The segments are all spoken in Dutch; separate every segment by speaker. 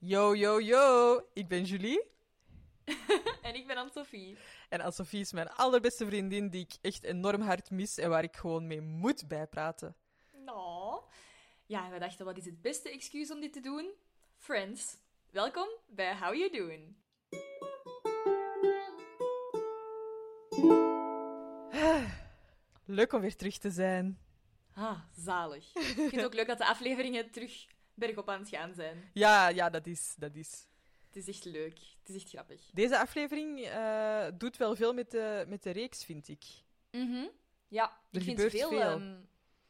Speaker 1: Yo, yo, yo, ik ben Julie.
Speaker 2: En ik ben Anne-Sophie.
Speaker 1: En Anne-Sophie is mijn allerbeste vriendin die ik echt enorm hard mis en waar ik gewoon mee moet bijpraten.
Speaker 2: Nou. Ja, en we dachten, wat is het beste excuus om dit te doen? Friends, welkom bij How You Doing.
Speaker 1: Leuk om weer terug te zijn.
Speaker 2: Ah, zalig. Ik vind het ook leuk dat de afleveringen terug bergop aan het gaan zijn.
Speaker 1: Ja, ja, dat is, dat is.
Speaker 2: Het is echt leuk. Het is echt grappig.
Speaker 1: Deze aflevering eh, doet wel veel met de, met de reeks, vind ik.
Speaker 2: Mhm. Ja,
Speaker 1: Er
Speaker 2: ik vind
Speaker 1: gebeurt
Speaker 2: veel,
Speaker 1: veel.
Speaker 2: ehm,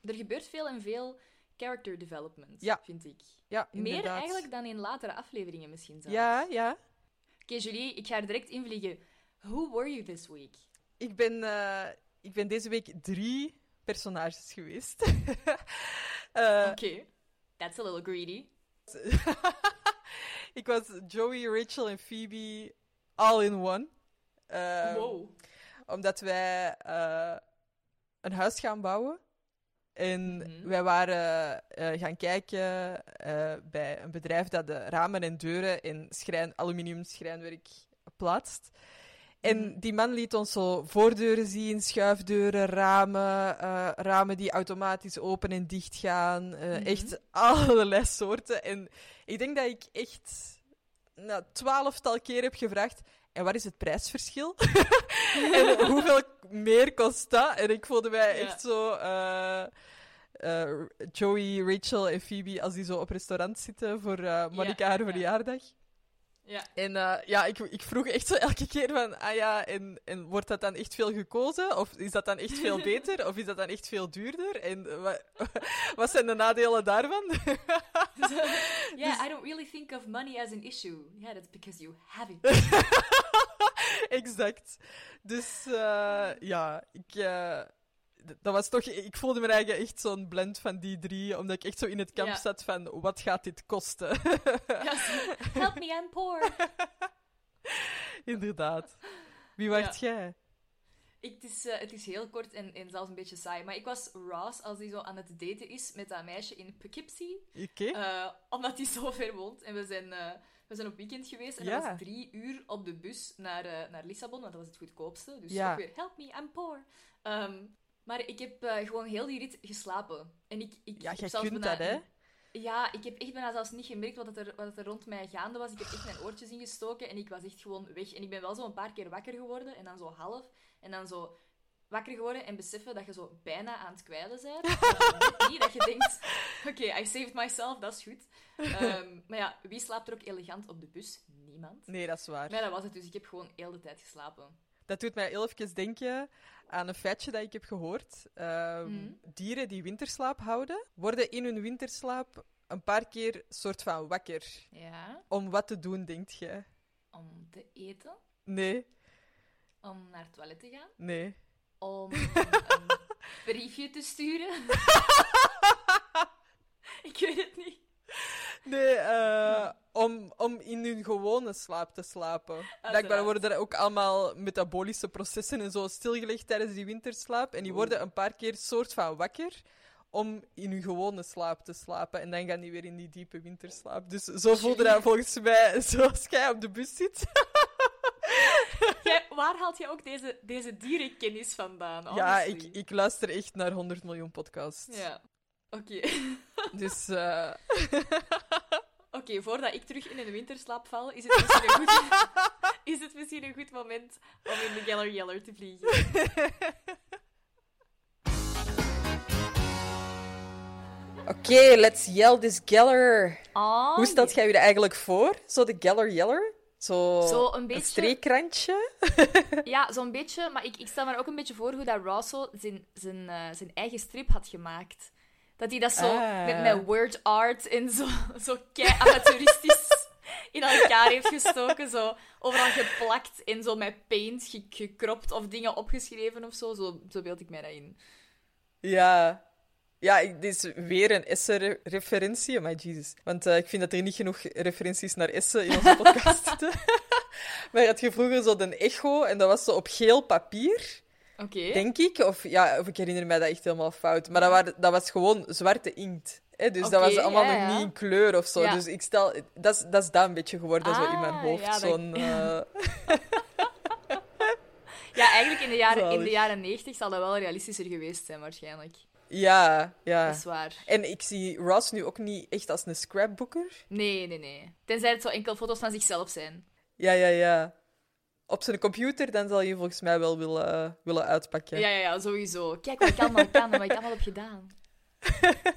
Speaker 2: er gebeurt veel en veel character development,
Speaker 1: Ja.
Speaker 2: vind ik.
Speaker 1: Ja,
Speaker 2: Meer
Speaker 1: inderdaad.
Speaker 2: eigenlijk dan in latere afleveringen misschien zelfs.
Speaker 1: Ja, ja.
Speaker 2: Oké, Julie, ik ga er direct invliegen. Who were you this week?
Speaker 1: Ik ben, eh, ik ben deze week drie personages geweest. Eh,
Speaker 2: Oké, that's a little greedy.
Speaker 1: ik was Joey, Rachel en Phoebe all in one. Eh,
Speaker 2: wow.
Speaker 1: Omdat wij eh, een huis gaan bouwen. En
Speaker 2: Mhm.
Speaker 1: wij waren eh, gaan kijken eh, bij een bedrijf dat de ramen en deuren in schrijn, aluminium schrijnwerk plaatst. En
Speaker 2: Mhm.
Speaker 1: die man liet ons zo voordeuren zien, schuifdeuren, ramen, eh, ramen die automatisch open en dicht gaan. eh,
Speaker 2: Mhm.
Speaker 1: Echt allerlei soorten. En ik denk dat ik echt nou, twaalftal keer heb gevraagd. En wat is het prijsverschil? en hoeveel meer kost dat? En ik voelde mij
Speaker 2: Ja.
Speaker 1: echt zo. eh, eh, Joey, Rachel en Phoebe, als die zo op restaurant zitten voor eh Monica haar
Speaker 2: ja.
Speaker 1: verjaardag.
Speaker 2: Ja.
Speaker 1: En eh, ja, ik, ik vroeg echt zo elke keer van, ah ja, en, en wordt dat dan echt veel gekozen? Of is dat dan echt veel beter? Of is dat dan echt veel duurder? En eh, wa- wat zijn de nadelen daarvan?
Speaker 2: Yeah,
Speaker 1: Dus
Speaker 2: I don't really think of money as an issue. Yeah, that's because you have it.
Speaker 1: exact. Dus eh, ja, ik, eh, d- dat was toch, ik voelde me eigenlijk echt zo'n blend van die drie, omdat ik echt zo in het kamp
Speaker 2: Ja.
Speaker 1: zat van wat gaat dit kosten?
Speaker 2: Yes. Help me, I'm poor.
Speaker 1: Inderdaad. Wie wacht jij?
Speaker 2: Ik, het, is, eh, het is heel kort en, en zelfs een beetje saai. Maar ik was Ross als hij zo aan het daten is met dat meisje in Poughkeepsie.
Speaker 1: Oké.
Speaker 2: eh, omdat hij zo ver woont. En we zijn, eh, we zijn op weekend geweest. En dat
Speaker 1: Ja.
Speaker 2: was drie uur op de bus naar, eh, naar Lissabon. Want dat was het goedkoopste. Dus
Speaker 1: Ja.
Speaker 2: ook weer, help me, I'm poor. Ehm, maar ik heb eh, gewoon heel die rit geslapen. En ik, ik
Speaker 1: ja,
Speaker 2: heb
Speaker 1: jij
Speaker 2: zelfs
Speaker 1: kunt dat,
Speaker 2: bijna
Speaker 1: hè?
Speaker 2: Ja, ik heb echt bijna zelfs niet gemerkt wat, dat er, wat dat er rond mij gaande was. Ik heb echt mijn oortjes ingestoken en ik was echt gewoon weg. En ik ben wel zo een paar keer wakker geworden en dan zo half. En dan zo wakker geworden en beseffen dat je zo bijna aan het kwijlen bent. Maar net niet dat je denkt, oké, I saved myself, dat is goed. Ehm, maar ja, wie slaapt er ook elegant op de bus? Niemand.
Speaker 1: Nee, dat is waar.
Speaker 2: Maar dat was het dus. Ik heb gewoon heel de tijd geslapen.
Speaker 1: Dat doet mij heel even denken aan een feitje dat ik heb gehoord. Ehm,
Speaker 2: Mhm.
Speaker 1: Dieren die winterslaap houden, worden in hun winterslaap een paar keer soort van wakker.
Speaker 2: Ja,
Speaker 1: Om wat te doen, denkt jij?
Speaker 2: om te eten,
Speaker 1: Nee,
Speaker 2: om naar het toilet te gaan,
Speaker 1: nee.
Speaker 2: om een briefje te sturen. ik weet het niet.
Speaker 1: Nee, eh, om, om in hun gewone slaap te slapen. Blijkbaar worden er ook allemaal metabolische processen en zo stilgelegd tijdens die winterslaap. En die
Speaker 2: Oeh.
Speaker 1: worden een paar keer soort van wakker om in hun gewone slaap te slapen. En dan gaan die weer in die diepe winterslaap. Dus zo voelde dat volgens mij zoals jij op de bus zit.
Speaker 2: Jij, waar haalt jij ook deze, deze dierenkennis vandaan?
Speaker 1: Ja, ik,
Speaker 2: honestly?
Speaker 1: ik luister echt naar 100 miljoen podcasts.
Speaker 2: Ja. Oké.
Speaker 1: Dus eh,
Speaker 2: Oké, voordat ik terug in een winterslaap val, is het misschien een goed, is het misschien een goed moment om in de Gallery Yeller te vliegen.
Speaker 1: oké, let's yell this geller.
Speaker 2: Ah,
Speaker 1: Hoe stelt jij je er eigenlijk voor? Zo de geller yeller? Zo,
Speaker 2: Zo een
Speaker 1: een
Speaker 2: beetje-
Speaker 1: streekrandje?
Speaker 2: Ja, zo'n beetje. Maar ik, ik stel me er ook een beetje voor hoe dat Russell zijn, zijn, eh, zijn eigen strip had gemaakt. Dat hij dat zo
Speaker 1: Ah.
Speaker 2: met, met word art en zo, zo kei-amateuristisch in elkaar heeft gestoken. Zo overal geplakt en zo met paint ge- gekropt of dingen opgeschreven of zo. Zo, zo beeld ik mij dat in.
Speaker 1: Ja. Ja, ik, dit is weer een Essen-referentie. Maar Jesus. Want eh, ik vind dat er niet genoeg referenties naar Essen in onze podcast zitten. maar je had je vroeger zo de echo en dat was zo op geel papier,
Speaker 2: Oké.
Speaker 1: denk ik. Of, ja, of ik herinner mij dat echt helemaal fout. Maar dat, waren, dat was gewoon zwarte inkt. Hè, dus
Speaker 2: Oké,
Speaker 1: dat was allemaal
Speaker 2: ja,
Speaker 1: nog
Speaker 2: ja.
Speaker 1: niet in kleur of zo.
Speaker 2: Ja.
Speaker 1: Dus ik stel, dat is, dat is dat een beetje geworden zo in mijn
Speaker 2: Ah,
Speaker 1: hoofd.
Speaker 2: ja, dat-
Speaker 1: Zo'n, eh,
Speaker 2: Ja, eigenlijk in de jaren, in de
Speaker 1: Zalig.
Speaker 2: jaren 90 zal dat wel realistischer geweest zijn, waarschijnlijk.
Speaker 1: ja, ja.
Speaker 2: Dat is waar.
Speaker 1: En ik zie Ross nu ook niet echt als een scrapbooker.
Speaker 2: Nee, nee, nee. Tenzij het zo enkel foto's van zichzelf zijn.
Speaker 1: Ja, ja, ja. Op zijn computer, dan zal je volgens mij wel willen, willen uitpakken.
Speaker 2: Ja, ja, ja, sowieso. Kijk wat ik allemaal kan en wat ik allemaal heb gedaan.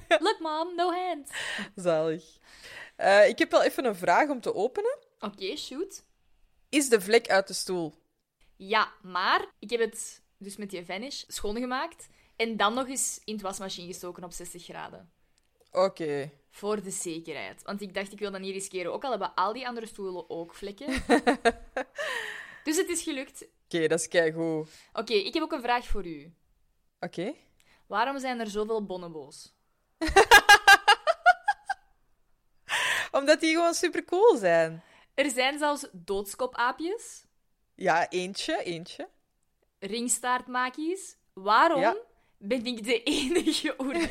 Speaker 2: Look, mom, no hands.
Speaker 1: Zalig. Eh, ik heb wel even een vraag om te openen.
Speaker 2: Oké, shoot.
Speaker 1: Is de vlek uit de stoel?
Speaker 2: Ja, maar ik heb het dus met die vanish schoongemaakt en dan nog eens in het wasmachine gestoken op 60 graden.
Speaker 1: Oké.
Speaker 2: Voor de zekerheid. Want ik dacht, ik wil dat niet riskeren. Ook al hebben al die andere stoelen ook vlekken. dus het is gelukt.
Speaker 1: Oké, dat is keigoed. Oké.
Speaker 2: Oké, ik heb ook een vraag voor u. Waarom zijn er zoveel bonobo's?
Speaker 1: Omdat die gewoon super cool zijn.
Speaker 2: Er zijn zelfs doodskopaapjes,
Speaker 1: Ja, eentje, eentje.
Speaker 2: ringstaartmakies. Waarom
Speaker 1: Ja.
Speaker 2: ben ik de enige oer?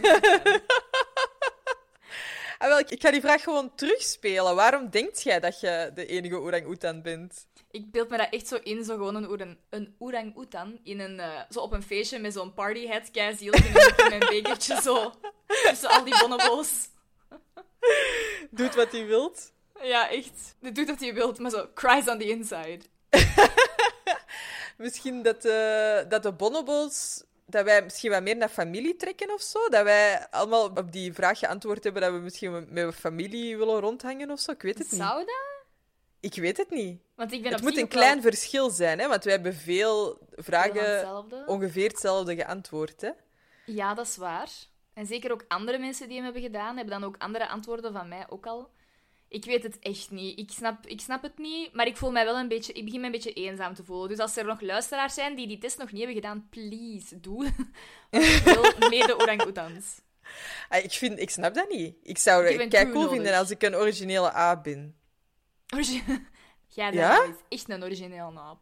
Speaker 1: Ah, wel, ik- ik ga die vraag gewoon terugspelen. Waarom denkt jij dat je de enige orang-oetan bent?
Speaker 2: Ik beeld me dat echt zo in, zo gewoon een, oeren, een oerang-oetan. In een, eh, zo op een feestje met zo'n partyhead, keizielig. En dan met mijn bekertje zo. Tussen al die bonobo's.
Speaker 1: Doet wat hij wilt.
Speaker 2: Ja, echt. Doe dat je wilt, maar zo. Cries on the inside.
Speaker 1: Misschien dat, eh, dat de bonobos... Dat wij misschien wat meer naar familie trekken of zo. Dat wij allemaal op die vraag geantwoord hebben dat we misschien met familie willen rondhangen of zo. Ik weet het niet.
Speaker 2: Zou dat?
Speaker 1: Ik weet het niet.
Speaker 2: Want ik ben
Speaker 1: Het
Speaker 2: op
Speaker 1: moet
Speaker 2: zich
Speaker 1: een
Speaker 2: ook wel
Speaker 1: klein verschil zijn, hè? want wij hebben veel
Speaker 2: veel van
Speaker 1: vragen
Speaker 2: hetzelfde.
Speaker 1: ongeveer hetzelfde geantwoord. Hè?
Speaker 2: Ja, dat is waar. En zeker ook andere mensen die hem hebben gedaan, hebben dan ook andere antwoorden van mij ook al. Ik weet het echt niet. Ik snap, ik snap het niet, maar ik voel mij wel een beetje... Ik begin me een beetje eenzaam te voelen. Dus als er nog luisteraars zijn die die test nog niet hebben gedaan, please, doe. Want ik wil mede orang-oetans.
Speaker 1: Ah, ik, vind, ik snap dat niet. Ik zou
Speaker 2: Ik dus. heb een
Speaker 1: het kei
Speaker 2: crew
Speaker 1: cool
Speaker 2: nodig.
Speaker 1: vinden als ik een originele A ben.
Speaker 2: Origi- Ja, dat
Speaker 1: Ja?
Speaker 2: is echt een origineel naap.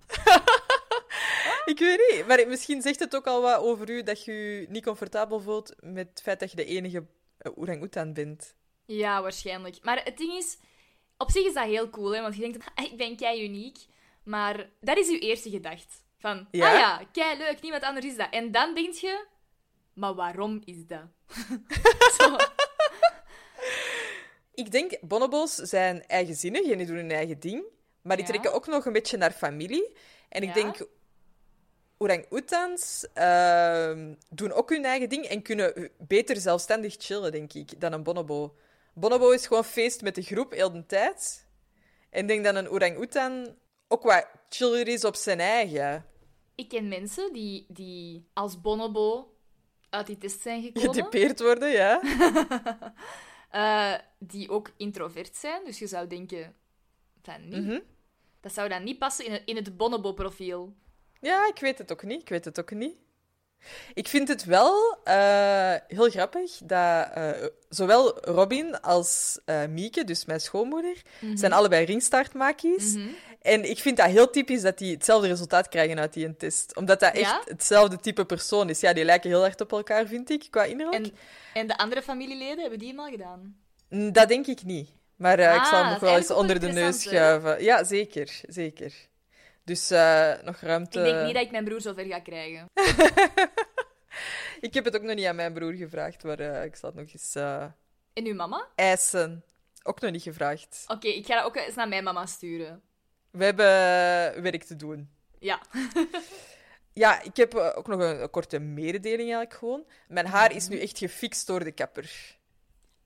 Speaker 1: Ik weet niet, maar misschien zegt het ook al wat over u dat je je niet comfortabel voelt met het feit dat je de enige eh, orang-oetan bent.
Speaker 2: Ja, waarschijnlijk. Maar het ding is, op zich is dat heel cool, hè, want je denkt, "Ah, ik ben kei uniek. Maar dat is je eerste gedacht. Van,
Speaker 1: Ja?
Speaker 2: ah ja, kei leuk, niemand anders is dat. En dan denk je, maar waarom is dat? Zo.
Speaker 1: Ik denk, bonobo's zijn eigenzinnig en die doen hun eigen ding. Maar die
Speaker 2: Ja.
Speaker 1: trekken ook nog een beetje naar familie. En ik
Speaker 2: Ja.
Speaker 1: denk, orang-oetans ehm, doen ook hun eigen ding en kunnen beter zelfstandig chillen, denk ik, dan een bonobo. Bonobo is gewoon feest met de groep heel de tijd. En ik denk dat een orang-oetan ook wat chiller is op zijn eigen.
Speaker 2: Ik ken mensen die, die als bonobo uit die test zijn gekomen.
Speaker 1: Getypeerd worden, ja.
Speaker 2: eh, die ook introvert zijn. Dus je zou denken, van niet.
Speaker 1: Mhm.
Speaker 2: Dat zou dan niet passen in het, in het bonobo-profiel.
Speaker 1: Ja, ik weet het ook niet. Ik weet het ook niet. Ik vind het wel eh, heel grappig dat eh, zowel Robin als eh, Mieke, dus mijn schoonmoeder, zijn allebei ringstaartmakies.
Speaker 2: Mhm.
Speaker 1: En ik vind dat heel typisch dat die hetzelfde resultaat krijgen uit die test. Omdat dat echt
Speaker 2: Ja?
Speaker 1: hetzelfde type persoon is. Ja, die lijken heel erg op elkaar, vind ik, qua innerlijk.
Speaker 2: En, en de andere familieleden, hebben die hem al gedaan?
Speaker 1: Mm, Dat denk ik niet. Maar eh, ik
Speaker 2: Ah,
Speaker 1: zal hem nog
Speaker 2: dat is
Speaker 1: wel eens
Speaker 2: eigenlijk ook
Speaker 1: onder de neus
Speaker 2: interessant, hè?
Speaker 1: schuiven. Ja, zeker. Zeker. Dus eh, nog ruimte...
Speaker 2: Ik denk niet dat ik mijn broer zover ga krijgen.
Speaker 1: Ik heb het ook nog niet aan mijn broer gevraagd, maar eh, ik zal het nog eens eh
Speaker 2: En uw mama? Oké,
Speaker 1: eisen. Ook nog niet gevraagd.
Speaker 2: ik ga dat ook eens naar mijn mama sturen.
Speaker 1: We hebben eh, werk te doen.
Speaker 2: Ja.
Speaker 1: Ja, ik heb eh, ook nog een, een korte mededeling eigenlijk gewoon. Mijn haar is nu echt gefixt door de kapper.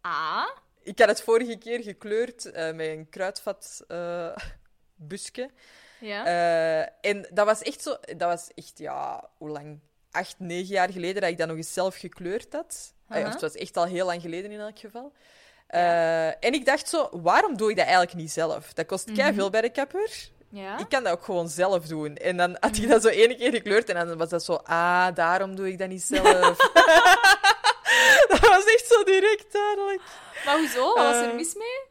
Speaker 2: Ah,
Speaker 1: Ik had het vorige keer gekleurd eh, met een kruidvat eh busje.
Speaker 2: ja.
Speaker 1: Eh, en dat was echt zo... Dat was echt, ja, hoe lang? Acht, negen jaar geleden dat ik dat nog eens zelf gekleurd had. Eh,
Speaker 2: Aha.
Speaker 1: of het was echt al heel lang geleden in elk geval. Eh, en ik dacht zo, waarom doe ik dat eigenlijk niet zelf? Dat kost keihard veel bij de kapper.
Speaker 2: Mhm. ja. Mhm.
Speaker 1: Ik kan dat ook gewoon zelf doen. En dan had ik dat zo één keer gekleurd en dan was dat zo, ah, daarom doe ik dat niet zelf. dat was echt zo direct duidelijk.
Speaker 2: Maar hoezo? Wat was er
Speaker 1: Eh,
Speaker 2: mis mee?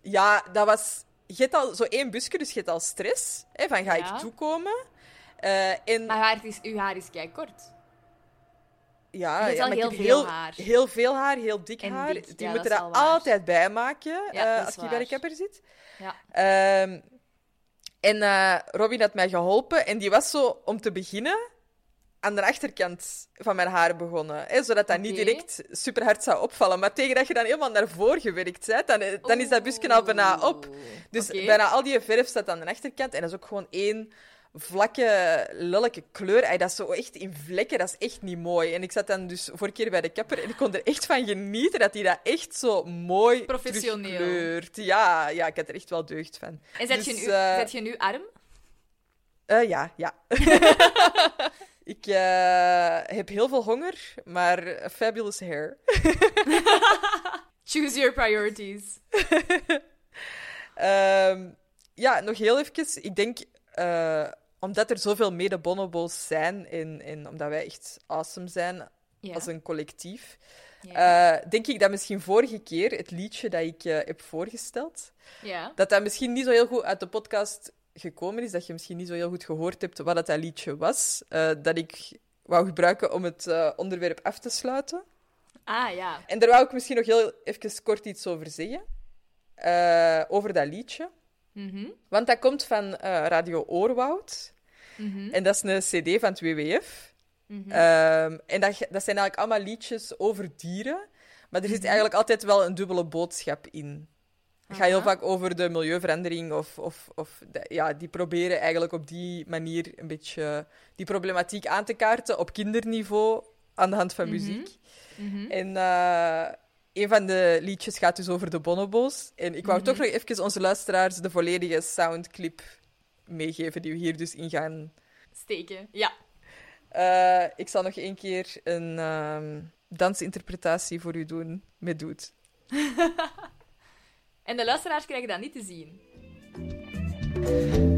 Speaker 1: Ja, dat was. Je hebt al zo één busje, dus je hebt al stress. Hè, van ga
Speaker 2: Ja.
Speaker 1: ik toekomen? Eh, en
Speaker 2: Maar haar is, uw haar is kei kort.
Speaker 1: ja,
Speaker 3: Je hebt
Speaker 1: ja,
Speaker 3: wel
Speaker 1: maar
Speaker 3: heel
Speaker 1: ik
Speaker 3: veel
Speaker 1: heb heel,
Speaker 3: haar.
Speaker 1: heel veel haar, heel dik
Speaker 3: En
Speaker 1: haar.
Speaker 3: dik,
Speaker 1: Die
Speaker 3: ja, dat
Speaker 1: moeten
Speaker 3: is
Speaker 1: dat
Speaker 3: wel waar.
Speaker 1: altijd bij maken
Speaker 3: Ja,
Speaker 1: eh,
Speaker 3: dat is
Speaker 1: als je bij
Speaker 3: waar.
Speaker 1: de kapper zit.
Speaker 3: Ja.
Speaker 1: Ehm, en eh, Robin had mij geholpen en die was zo, om te beginnen, aan de achterkant van mijn haar begonnen. Hè, zodat dat niet
Speaker 2: Oké.
Speaker 1: direct super hard zou opvallen. Maar tegen dat je dan helemaal naar voren gewerkt bent, dan, eh, dan is dat busje al bijna op. Dus
Speaker 2: Oké.
Speaker 1: bijna al die verf staat aan de achterkant. En dat is ook gewoon één vlakke, lelijke kleur. Ay, dat is zo echt in vlekken. Dat is echt niet mooi. En ik zat dan dus vorige keer bij de kapper en ik kon er echt van genieten dat hij dat echt zo mooi
Speaker 3: Professioneel.
Speaker 1: terugkleurt. Ja, ja, ik had er echt wel deugd van.
Speaker 3: En zet, je
Speaker 1: Dus,
Speaker 3: nu,
Speaker 1: eh,
Speaker 3: zet je nu arm?
Speaker 1: Eh, ja, ja. ik eh, heb heel veel honger, maar fabulous hair.
Speaker 3: Choose your priorities.
Speaker 1: Ehm, ja, nog heel even. Ik denk, eh, omdat er zoveel mede-bonobos zijn en, en omdat wij echt awesome zijn
Speaker 3: Ja.
Speaker 1: als een collectief,
Speaker 3: ja.
Speaker 1: eh, denk ik dat misschien vorige keer het liedje dat ik eh, heb voorgesteld,
Speaker 3: ja.
Speaker 1: dat dat misschien niet zo heel goed uit de podcast gekomen is, dat je misschien niet zo heel goed gehoord hebt wat dat, dat liedje was, eh, dat ik wou gebruiken om het eh, onderwerp af te sluiten.
Speaker 3: Ah ja.
Speaker 1: En daar wou ik misschien nog heel even kort iets over zeggen, eh, over dat liedje.
Speaker 3: Mhm.
Speaker 1: Want dat komt van eh, Radio Oorwoud.
Speaker 3: Mhm.
Speaker 1: En dat is een cd van het WWF.
Speaker 3: Mhm.
Speaker 1: Ehm, en dat, ge- dat zijn eigenlijk allemaal liedjes over dieren. Maar er zit
Speaker 3: Hm.
Speaker 1: eigenlijk altijd wel een dubbele boodschap in. Het gaat heel
Speaker 3: Aha.
Speaker 1: vaak over de milieuverandering. Of, of, of de- ja, die proberen eigenlijk op die manier een beetje die problematiek aan te kaarten op kinderniveau aan de hand van
Speaker 3: Mhm.
Speaker 1: muziek.
Speaker 3: Mhm.
Speaker 1: En eh, een van de liedjes gaat dus over de bonobo's. En ik wou toch nog even onze luisteraars de volledige soundclip meegeven die we hier dus in gaan.
Speaker 3: Steken. Ja.
Speaker 1: Eh, ik zal nog één keer een ehm, dansinterpretatie voor u doen met Doet.
Speaker 3: En de luisteraars krijgen dat niet te zien.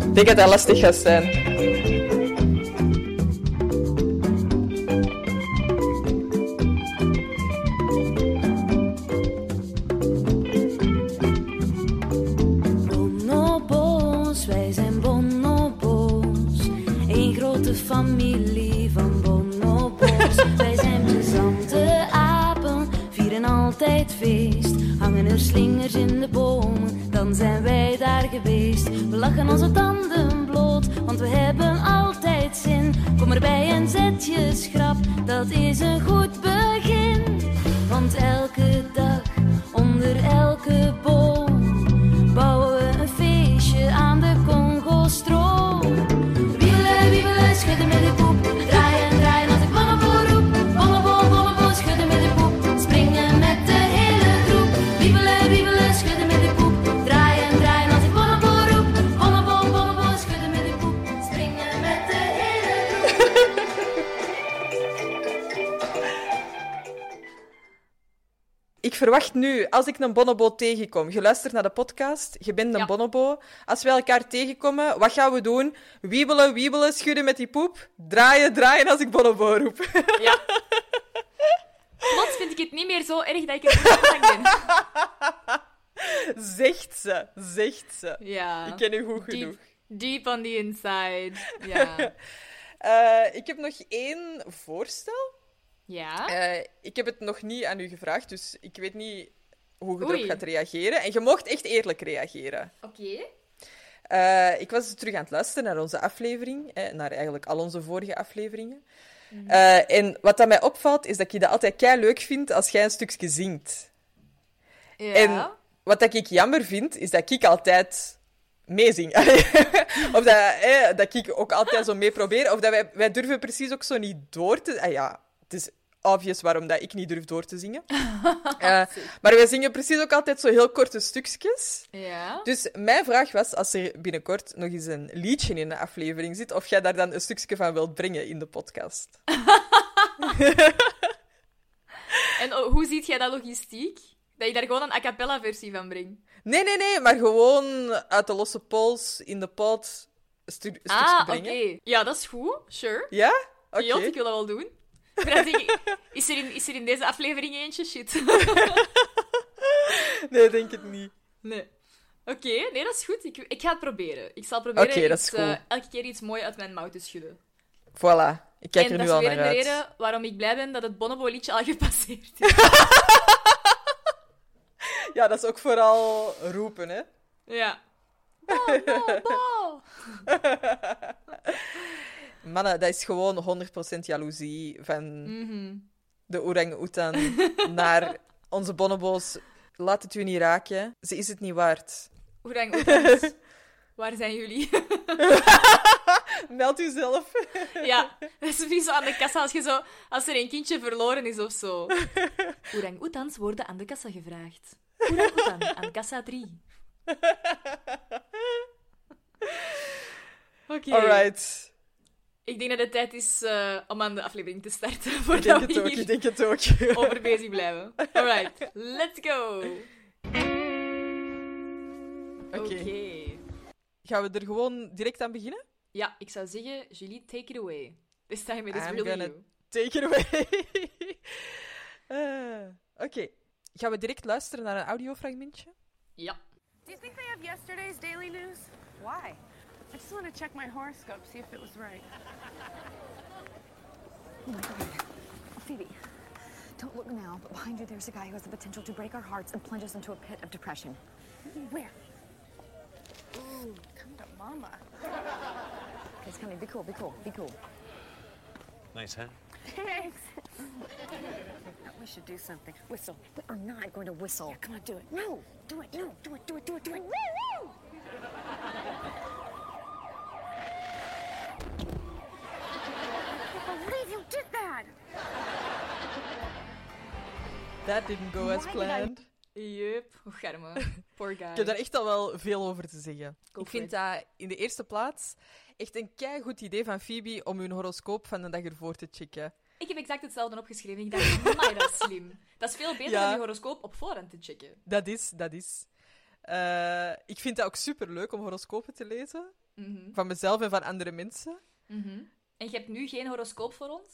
Speaker 1: Ik denk dat dat lastig gaat zijn.
Speaker 4: Bonobos, wij zijn bonobos. Een grote familie van bonobos. wij zijn plezante apen, vieren altijd feest. Hangen er slingers in de bomen, dan zijn wij daar geweest. We lachen onze tanden bloot, want we hebben altijd zin. Kom erbij en zet je schrap, dat is een goed begin. Want elke dag, onder elke boom bouwen we een feestje aan de Congo-stroom. Wiebelen, wiebelen, schudden met de poep. Draaien, draaien als ik bommebo roep. Bommebo, bommebo, schudden met de poep. Springen met de hele groep. Wiebelen, wiebelen, schudden met de poep. Draaien, draaien als ik bommebo roep. Bommebo, bommebo, schudden met de poep. Springen met de hele groep.
Speaker 1: Ik verwacht nu, als ik een bonobo tegenkom, je luistert naar de podcast, je bent een
Speaker 3: Ja.
Speaker 1: bonobo. Als we elkaar tegenkomen, wat gaan we doen? Wiebelen, wiebelen, schudden met die poep. Draaien, draaien als ik bonobo roep.
Speaker 3: Ja. Plots vind ik het niet meer zo erg dat ik er niet bang ben.
Speaker 1: Zegt ze, zegt ze.
Speaker 3: Ja.
Speaker 1: Ik ken u goed genoeg.
Speaker 3: Deep, deep on the inside. Ja.
Speaker 1: Eh, ik heb nog één voorstel.
Speaker 3: Ja.
Speaker 1: Eh, ik heb het nog niet aan u gevraagd, dus ik weet niet hoe je
Speaker 3: Oei.
Speaker 1: erop gaat reageren. En je mocht echt eerlijk reageren.
Speaker 2: Oké.
Speaker 1: Eh, ik was terug aan het luisteren naar onze aflevering, eh, naar eigenlijk al onze vorige afleveringen.
Speaker 3: Mm.
Speaker 1: Eh, en wat dat mij opvalt, is dat ik dat altijd kei leuk vind als jij een stukje zingt.
Speaker 3: Ja.
Speaker 1: En wat dat ik jammer vind, is dat ik altijd meezing. Allee, of dat, eh, dat ik ook altijd zo mee probeer. Of dat wij, wij durven precies ook zo niet door te... Ah ja, het is obvious waarom dat ik niet durf door te zingen. Eh, maar wij zingen precies ook altijd zo heel korte stukjes.
Speaker 3: Ja.
Speaker 1: Dus mijn vraag was, als er binnenkort nog eens een liedje in de aflevering zit, of jij daar dan een stukje van wilt brengen in de podcast.
Speaker 3: En o- hoe ziet jij dat logistiek? Dat je daar gewoon een a cappella versie van brengt.
Speaker 1: Nee, nee, nee, maar gewoon uit de losse pols, in de pot, een stu- een stukje
Speaker 3: ah, oké.
Speaker 1: brengen.
Speaker 3: Ja, dat is goed. Sure.
Speaker 1: Ja? Oké.
Speaker 3: Jot, ik wil dat wel doen. Maar dan denk ik, is er, in, is er in deze aflevering eentje? Shit.
Speaker 1: Nee, denk het niet.
Speaker 3: Nee. Oké, nee, dat is goed. Ik, ik ga het proberen. Ik zal proberen
Speaker 1: Oké, dat is
Speaker 3: iets, eh,
Speaker 1: cool.
Speaker 3: elke keer iets moois uit mijn mouw te schudden.
Speaker 1: Voilà. Ik kijk er
Speaker 2: en dat
Speaker 1: nu
Speaker 2: is
Speaker 1: al
Speaker 2: weer
Speaker 1: naar
Speaker 2: een
Speaker 1: uit.
Speaker 2: reden waarom ik blij ben dat het Bonobo-liedje al gepasseerd is.
Speaker 1: Ja, dat is ook vooral roepen, hè.
Speaker 2: ja. Bonobo!
Speaker 1: Mannen, dat is gewoon 100% jaloezie van
Speaker 2: Mhm.
Speaker 1: de orang-oetan naar onze bonobo's. Laat het u niet raken. Ze is het niet waard.
Speaker 2: Orang-oetans, waar zijn jullie?
Speaker 1: Meld u zelf.
Speaker 2: ja, dat is precies zo aan de kassa als, je zo, als er een kindje verloren is of zo. Orang-oetans worden aan de kassa gevraagd. Orang-oetan, aan kassa 3. Oké.
Speaker 1: Alright.
Speaker 2: Ik denk dat het tijd is eh, om aan de aflevering te starten
Speaker 1: Ik denk
Speaker 2: voordat
Speaker 1: het
Speaker 2: we
Speaker 1: ook, ik
Speaker 2: hier
Speaker 1: denk het ook.
Speaker 2: over bezig blijven. Alright, let's go!
Speaker 1: Oké. Gaan we er gewoon direct aan beginnen?
Speaker 2: Ja, ik zou zeggen, Julie, take it away. This time it is
Speaker 1: I'm
Speaker 2: really
Speaker 1: gonna-
Speaker 2: you.
Speaker 1: Take it away. Eh, Oké. Gaan we direct luisteren naar een audiofragmentje?
Speaker 2: Ja.
Speaker 5: Do you think they have yesterday's daily news? Why? I just want to check my horoscope, see if it was right.
Speaker 6: Oh my god. Phoebe, don't look now, but behind you there's a guy who has the potential to break our hearts and plunge us into a pit of depression.
Speaker 5: Where? Ooh, come to mama.
Speaker 6: Okay, It's coming. Be cool, be cool, be cool.
Speaker 7: Nice hat.
Speaker 5: Thanks.
Speaker 6: We should do something. Whistle. We are not going to whistle. come on, do it. No, do it, no, do it, do it, do it, do it. Woo, woo!
Speaker 5: I can't believe you did that.
Speaker 1: That didn't go as planned.
Speaker 2: Yup. Och, arme. Poor guy.
Speaker 1: Ik heb daar echt al wel veel over te zeggen.
Speaker 2: Go
Speaker 1: ik
Speaker 2: for
Speaker 1: vind
Speaker 2: it.
Speaker 1: dat in de eerste plaats echt een keigoed idee van Phoebe om hun horoscoop van de dag ervoor te checken.
Speaker 2: Ik heb exact hetzelfde opgeschreven. Ik dacht, amai, dat is slim. Dat is veel beter
Speaker 1: Ja.
Speaker 2: dan je horoscoop op voorhand te checken.
Speaker 1: Dat is, dat is. Eh, ik vind dat ook superleuk om horoscopen te lezen.
Speaker 2: Mhm.
Speaker 1: Van mezelf en van andere mensen.
Speaker 2: Mhm. En je hebt nu geen horoscoop voor ons?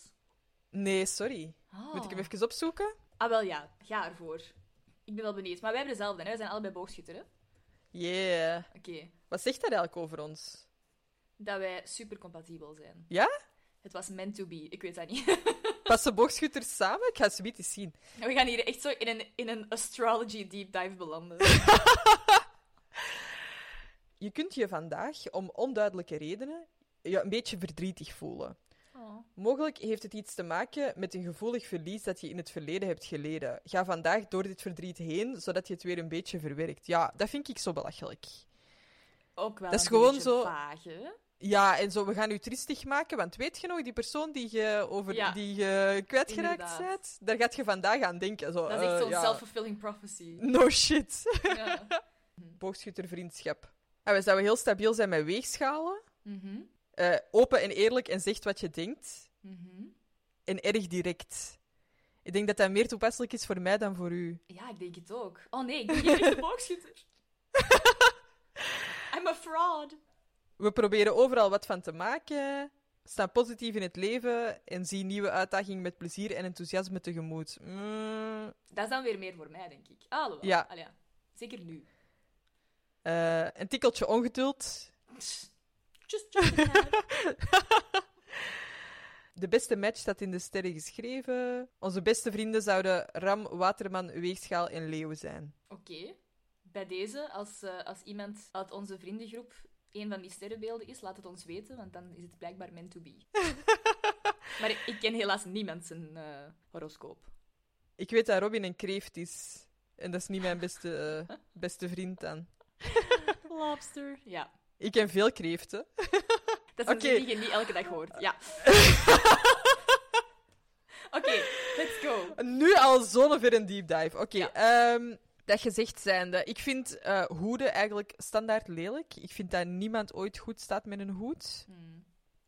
Speaker 1: Nee, sorry.
Speaker 2: Ah.
Speaker 1: Moet ik hem even opzoeken?
Speaker 2: Ah, wel ja. Ga ervoor. Ik ben wel benieuwd. Maar wij hebben dezelfde, hè? We zijn allebei boogschutter, hè?
Speaker 1: Yeah.
Speaker 2: Oké.
Speaker 1: Wat zegt dat eigenlijk over ons?
Speaker 2: Dat wij super compatibel zijn.
Speaker 1: Ja?
Speaker 2: Het was meant to be. Ik weet dat niet.
Speaker 1: Passen boogschutters samen? Ik ga ze eens zien.
Speaker 2: We gaan hier echt zo in een, in een astrology deep dive belanden.
Speaker 1: Je kunt je vandaag om onduidelijke redenen je een beetje verdrietig voelen.
Speaker 2: Oh.
Speaker 1: Mogelijk heeft het iets te maken met een gevoelig verlies dat je in het verleden hebt geleden. Ga vandaag door dit verdriet heen, zodat je het weer een beetje verwerkt. Ja, dat vind ik zo belachelijk.
Speaker 2: Ook wel
Speaker 1: Dat is
Speaker 2: een
Speaker 1: gewoon
Speaker 2: beetje
Speaker 1: zo-
Speaker 2: vaag, hè?
Speaker 1: Ja, en zo, we gaan u triestig maken, want weet je nog, die persoon die je, over,
Speaker 2: Ja.
Speaker 1: die je kwijtgeraakt
Speaker 2: Inderdaad.
Speaker 1: bent, daar gaat je vandaag aan denken. Zo,
Speaker 2: Dat is echt
Speaker 1: eh,
Speaker 2: zo'n
Speaker 1: ja,
Speaker 2: self-fulfilling prophecy.
Speaker 1: No shit.
Speaker 2: ja.
Speaker 1: Boogschuttervriendschap. En we zouden heel stabiel zijn met weegschalen.
Speaker 2: Mhm.
Speaker 1: Eh, open en eerlijk en zegt wat je denkt.
Speaker 2: Mhm.
Speaker 1: En erg direct. Ik denk dat dat meer toepasselijk is voor mij dan voor u.
Speaker 2: Ja, ik denk het ook. Oh nee, ik ben geen echte boogschutter. I'm a fraud.
Speaker 1: We proberen overal wat van te maken, staan positief in het leven en zien nieuwe uitdagingen met plezier en enthousiasme tegemoet. Mm,
Speaker 2: Dat is dan weer meer voor mij, denk ik. Ah, alhoewel.
Speaker 1: Ja.
Speaker 2: Allee, ja. Zeker nu.
Speaker 1: eh, een tikkeltje ongeduld.
Speaker 2: Just, just a tad.
Speaker 1: De beste match staat in de sterren geschreven. Onze beste vrienden zouden Ram, Waterman, Weegschaal en Leeuw zijn.
Speaker 2: Oké. Bij deze, als, eh, als iemand uit onze vriendengroep een van die sterrenbeelden is, laat het ons weten, want dan is het blijkbaar meant to be. maar ik, ik ken helaas niemand zijn eh, horoscoop.
Speaker 1: Ik weet dat Robin een kreeft is. En dat is niet mijn beste, eh, beste vriend dan.
Speaker 2: Lobster. Ja.
Speaker 1: Ik ken veel kreeften.
Speaker 2: Dat is een
Speaker 1: Oké.
Speaker 2: zin die je niet elke dag hoort. Ja. Oké, let's go.
Speaker 1: Nu al zo'n ver een deep dive. Oké,
Speaker 2: Ja.
Speaker 1: ehm, dat gezegd zijnde. Ik vind eh hoeden eigenlijk standaard lelijk. Ik vind dat niemand ooit goed staat met een hoed.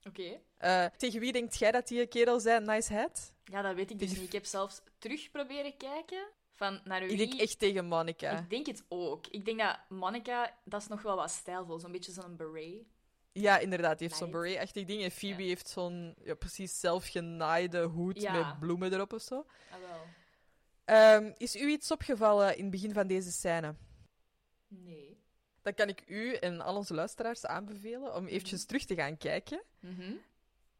Speaker 2: Oké.
Speaker 1: Eh, tegen wie denkt jij dat die kerel zei, nice hat?
Speaker 2: Ja, dat weet ik dus
Speaker 1: Die-
Speaker 2: niet. Ik heb zelfs terug proberen kijken van naar wie...
Speaker 1: Ik denk echt tegen Monica.
Speaker 2: Ik denk het ook. Ik denk dat Monica, dat is nog wel wat stijlvol. Zo'n beetje zo'n beret.
Speaker 1: Ja, inderdaad. Die heeft zo'n
Speaker 2: Nice.
Speaker 1: beret-achtig ding. En Phoebe heeft zo'n ja, precies zelfgenaaide hoed
Speaker 2: Ja.
Speaker 1: met bloemen erop of zo.
Speaker 2: Ah, wel.
Speaker 1: Ehm, is u iets opgevallen in het begin van deze scène?
Speaker 2: Nee.
Speaker 1: Dan kan ik u en al onze luisteraars aanbevelen om eventjes terug te gaan kijken.
Speaker 2: Mhm.